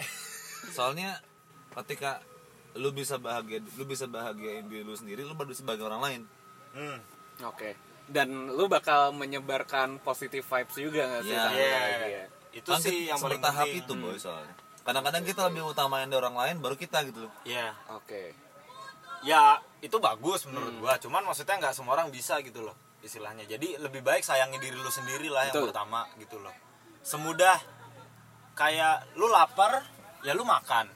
Speaker 2: soalnya ketika lu bisa bahagia lu bisa bahagiain diri lu sendiri lu baru bisa bahagia orang lain
Speaker 3: Hmm.
Speaker 1: Oke. Dan lu bakal menyebarkan positive vibes juga nggak sih?
Speaker 2: Iya.
Speaker 1: sama
Speaker 3: Iya.
Speaker 1: lagi ya?
Speaker 3: Itu
Speaker 2: Kan
Speaker 3: sih
Speaker 2: kita
Speaker 3: yang paling
Speaker 2: bertahap
Speaker 3: penting. Hmm.
Speaker 2: itu boy soalnya kadang-kadang kita lebih utamain orang lain baru kita gitu loh
Speaker 3: Ya,
Speaker 1: Oke.
Speaker 3: ya itu bagus menurut gua. Cuman maksudnya nggak semua orang bisa gitu loh istilahnya. Jadi lebih baik sayangi diri lu sendiri lah yang
Speaker 1: Betul.
Speaker 3: pertama gitu loh. Semudah kayak lu lapar, ya lu makan.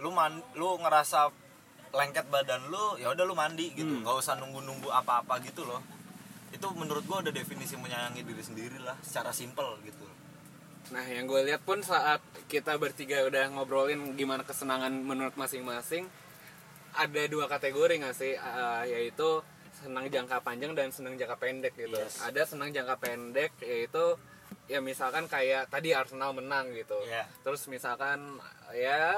Speaker 3: Lu man, lu ngerasa lengket badan lu, ya udah lu mandi gitu. nggak usah nunggu-nunggu apa-apa gitu loh. Itu menurut gua udah definisi menyayangi diri sendiri lah secara simpel gitu.
Speaker 1: Nah, yang gue lihat pun saat kita bertiga udah ngobrolin gimana kesenangan menurut masing-masing, ada dua kategori nggak sih, Eh, yaitu senang jangka panjang dan senang jangka pendek gitu.
Speaker 3: Yes.
Speaker 1: Ada senang jangka pendek yaitu ya misalkan kayak tadi Arsenal menang gitu.
Speaker 3: Iya.
Speaker 1: Terus misalkan ya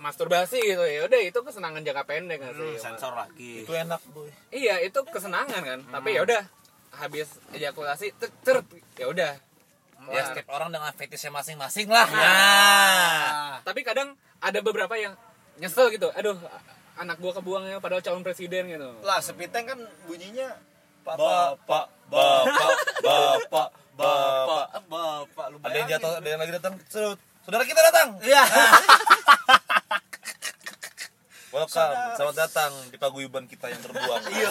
Speaker 1: masturbasi gitu ya udah itu kesenangan jangka pendek nggak sih? Ya,
Speaker 3: sensor lagi.
Speaker 2: itu enak boy
Speaker 1: Iya, itu kesenangan kan.
Speaker 3: Hmm.
Speaker 1: Tapi ya udah habis ejakulasi cer, cer ya udah. Kelar.
Speaker 2: ya setiap orang dengan fetishnya masing-masing lah
Speaker 3: Iya.
Speaker 2: Nah, ya
Speaker 1: Ah, Tapi kadang ada beberapa yang nyesel gitu. Aduh, anak gua kebuangnya padahal calon presiden gitu.
Speaker 3: Lah, sepiteng kan bunyinya bapak,
Speaker 2: bapak bapak bapak bapak
Speaker 3: bapak, bapak, lu
Speaker 2: ada yang
Speaker 3: bayangin.
Speaker 2: jatuh ada yang lagi datang Serut. saudara kita datang Nah.
Speaker 3: Iya.
Speaker 2: welcome selamat datang di paguyuban kita yang terbuang
Speaker 3: Iya.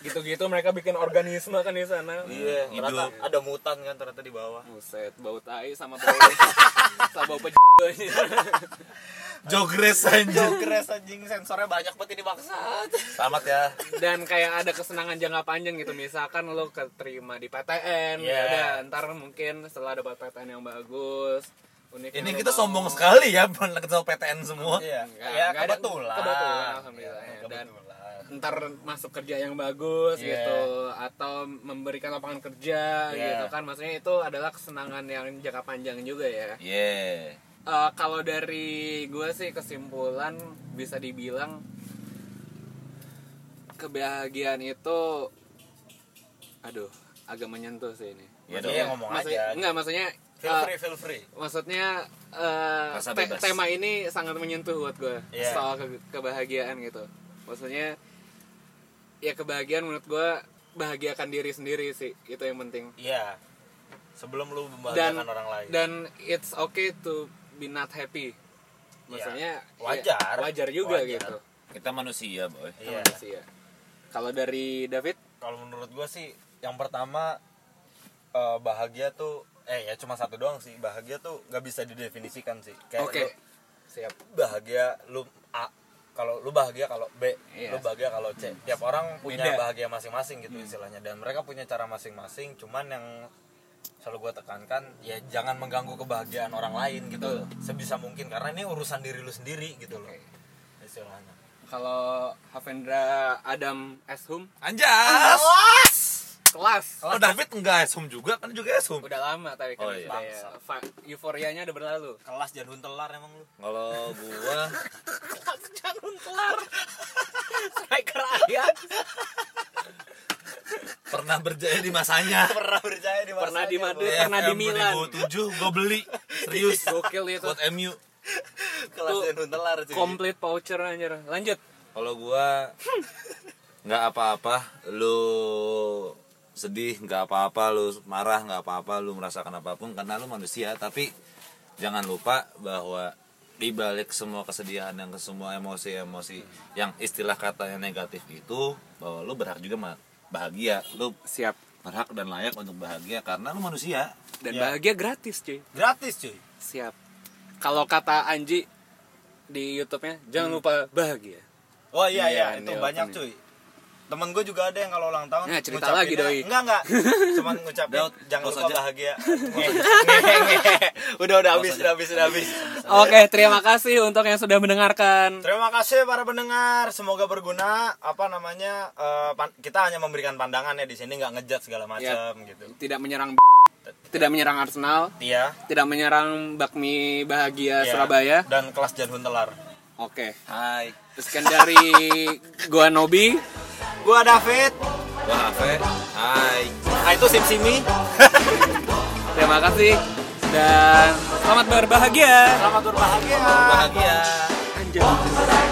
Speaker 1: Gitu-gitu mereka bikin organisme kan di sana.
Speaker 3: Iya,
Speaker 2: Hidup.
Speaker 3: ternyata ada mutan kan ternyata di bawah.
Speaker 1: Buset, bau tai sama bau sama bau pe- ini.
Speaker 2: jogres anjing
Speaker 3: Jogres anjing sensornya banyak banget ini bangsat.
Speaker 2: selamat ya
Speaker 1: Dan kayak ada kesenangan jangka panjang gitu. Misalkan lo keterima di PTN,
Speaker 3: Iya.
Speaker 1: ya udah ntar mungkin setelah dapat PTN yang bagus, unik
Speaker 2: ini
Speaker 1: yang lo
Speaker 2: kita sombong
Speaker 1: mau.
Speaker 2: sekali ya ketemu PTN semua
Speaker 3: Iya,
Speaker 1: Enggak,
Speaker 3: ya
Speaker 1: enggak ada-
Speaker 3: kebetulan.
Speaker 1: kebetulan, alhamdulillah,
Speaker 3: Iya,
Speaker 1: ya. Dan-
Speaker 3: kebetulan.
Speaker 1: ntar masuk kerja yang bagus
Speaker 3: Iya.
Speaker 1: gitu atau memberikan lapangan kerja
Speaker 3: Iya.
Speaker 1: gitu kan maksudnya itu adalah kesenangan yang jangka panjang juga ya
Speaker 2: yeah
Speaker 1: eh, kalau dari gue sih kesimpulan bisa dibilang kebahagiaan itu aduh agak menyentuh sih ini.
Speaker 2: Ya
Speaker 3: Maksudnya
Speaker 2: dong.
Speaker 3: ngomong
Speaker 1: Maksudnya-
Speaker 3: aja.
Speaker 1: Enggak, maksudnya
Speaker 3: Feel
Speaker 1: eh,
Speaker 3: free, feel free.
Speaker 1: maksudnya eh,
Speaker 2: Rasa
Speaker 1: te-
Speaker 2: bebas.
Speaker 1: tema ini sangat menyentuh buat gue
Speaker 3: Iya.
Speaker 1: soal ke- kebahagiaan gitu maksudnya ya kebahagiaan menurut gue bahagiakan diri sendiri sih itu yang penting
Speaker 3: Iya. Sebelum lu
Speaker 1: dan
Speaker 3: membahagiakan orang lain.
Speaker 1: dan it's okay to be not happy maksudnya ya,
Speaker 3: Iya. Wajar.
Speaker 1: wajar juga
Speaker 3: Wajar.
Speaker 1: gitu
Speaker 2: Kita manusia, boy.
Speaker 1: Itu
Speaker 3: Iya.
Speaker 1: manusia. kalau dari David
Speaker 3: Kalau menurut gua sih yang pertama eh, bahagia tuh eh ya cuma satu doang sih. Bahagia tuh nggak bisa didefinisikan sih. Kayak
Speaker 1: oke
Speaker 3: lu
Speaker 1: siap
Speaker 3: bahagia lu A kalau lu bahagia kalau B,
Speaker 1: Iya.
Speaker 3: lu bahagia kalau C. Tiap orang punya
Speaker 1: Beda. Hmm.
Speaker 3: bahagia masing-masing gitu istilahnya dan mereka punya cara masing-masing. Cuman yang selalu gua tekankan ya jangan mengganggu kebahagiaan orang lain gitu
Speaker 1: Betul.
Speaker 3: loh. sebisa mungkin karena ini urusan diri lu sendiri gitu loh
Speaker 1: Oke.
Speaker 3: istilahnya.
Speaker 1: kalau Havendra Adam Eshum
Speaker 2: Anjas.
Speaker 1: kelas
Speaker 2: Oh, David enggak esum juga kan juga esum.
Speaker 1: udah lama tapi kan
Speaker 2: Oh, iya.
Speaker 1: sudah ya, fa- euforianya udah berlalu
Speaker 3: Kelas jadun telar emang lu.
Speaker 2: Kalau gua
Speaker 1: Jangan kelar. Ah. Striker Ajax
Speaker 2: pernah berjaya di masanya.
Speaker 3: pernah berjaya di
Speaker 1: pernah di
Speaker 3: masanya,
Speaker 1: Madrid,
Speaker 3: Bro.
Speaker 1: pernah di Milan.
Speaker 2: 2007 gua beli. Serius.
Speaker 1: Gokil itu.
Speaker 2: Buat MU.
Speaker 3: kelas
Speaker 1: Tuh,
Speaker 3: Jadun telar cuy.
Speaker 1: Complete voucher anjir. Lanjut.
Speaker 2: Kalau gua nggak apa-apa, lu sedih nggak apa-apa, lu marah nggak apa-apa, lu merasakan apapun karena lu manusia. Tapi jangan lupa bahwa di balik semua kesedihan dan ke semua emosi-emosi yang istilah katanya negatif itu bahwa lu berhak juga ma- bahagia, lu
Speaker 1: Siap.
Speaker 2: berhak dan layak untuk bahagia karena lu manusia.
Speaker 1: Dan
Speaker 3: Ya.
Speaker 1: bahagia gratis, cuy.
Speaker 3: gratis cuy.
Speaker 1: Siap. Kalau kata Anji di YouTube-nya, jangan lupa bahagia.
Speaker 3: Oh iya iya,
Speaker 1: Iya,
Speaker 3: itu
Speaker 1: Neil,
Speaker 3: banyak
Speaker 1: Neil.
Speaker 3: cuy. Temen gue juga ada yang kalau ulang tahun
Speaker 1: Nah, cerita
Speaker 3: ngucapinnya-
Speaker 1: lagi, Doi.
Speaker 3: Enggak enggak Cuman ngucapin
Speaker 2: Daud,
Speaker 3: Jangan
Speaker 2: pause
Speaker 3: lupa
Speaker 2: aja.
Speaker 3: bahagia Nge- nge- nge- Udah udah habis
Speaker 2: aja.
Speaker 3: udah habis udah habis
Speaker 1: Oke, terima kasih untuk yang sudah mendengarkan.
Speaker 3: Terima kasih para pendengar Semoga berguna Apa namanya eh, pan- Kita hanya memberikan pandangan ya di sini nggak ngejat segala macam gitu
Speaker 1: Tidak menyerang tidak menyerang Arsenal,
Speaker 3: Iya
Speaker 1: tidak menyerang bakmi bahagia
Speaker 3: iya.
Speaker 1: Surabaya.
Speaker 3: Dan kelas jadun telar
Speaker 1: Oke.
Speaker 2: Hai,
Speaker 1: Sekian dari gua Nobi.
Speaker 3: Gua David
Speaker 2: gua Afe. Hai.
Speaker 3: Nah itu Sim Simi
Speaker 1: Terima kasih dan selamat berbahagia.
Speaker 3: Selamat berbahagia
Speaker 2: Bahagia.
Speaker 1: Anjay.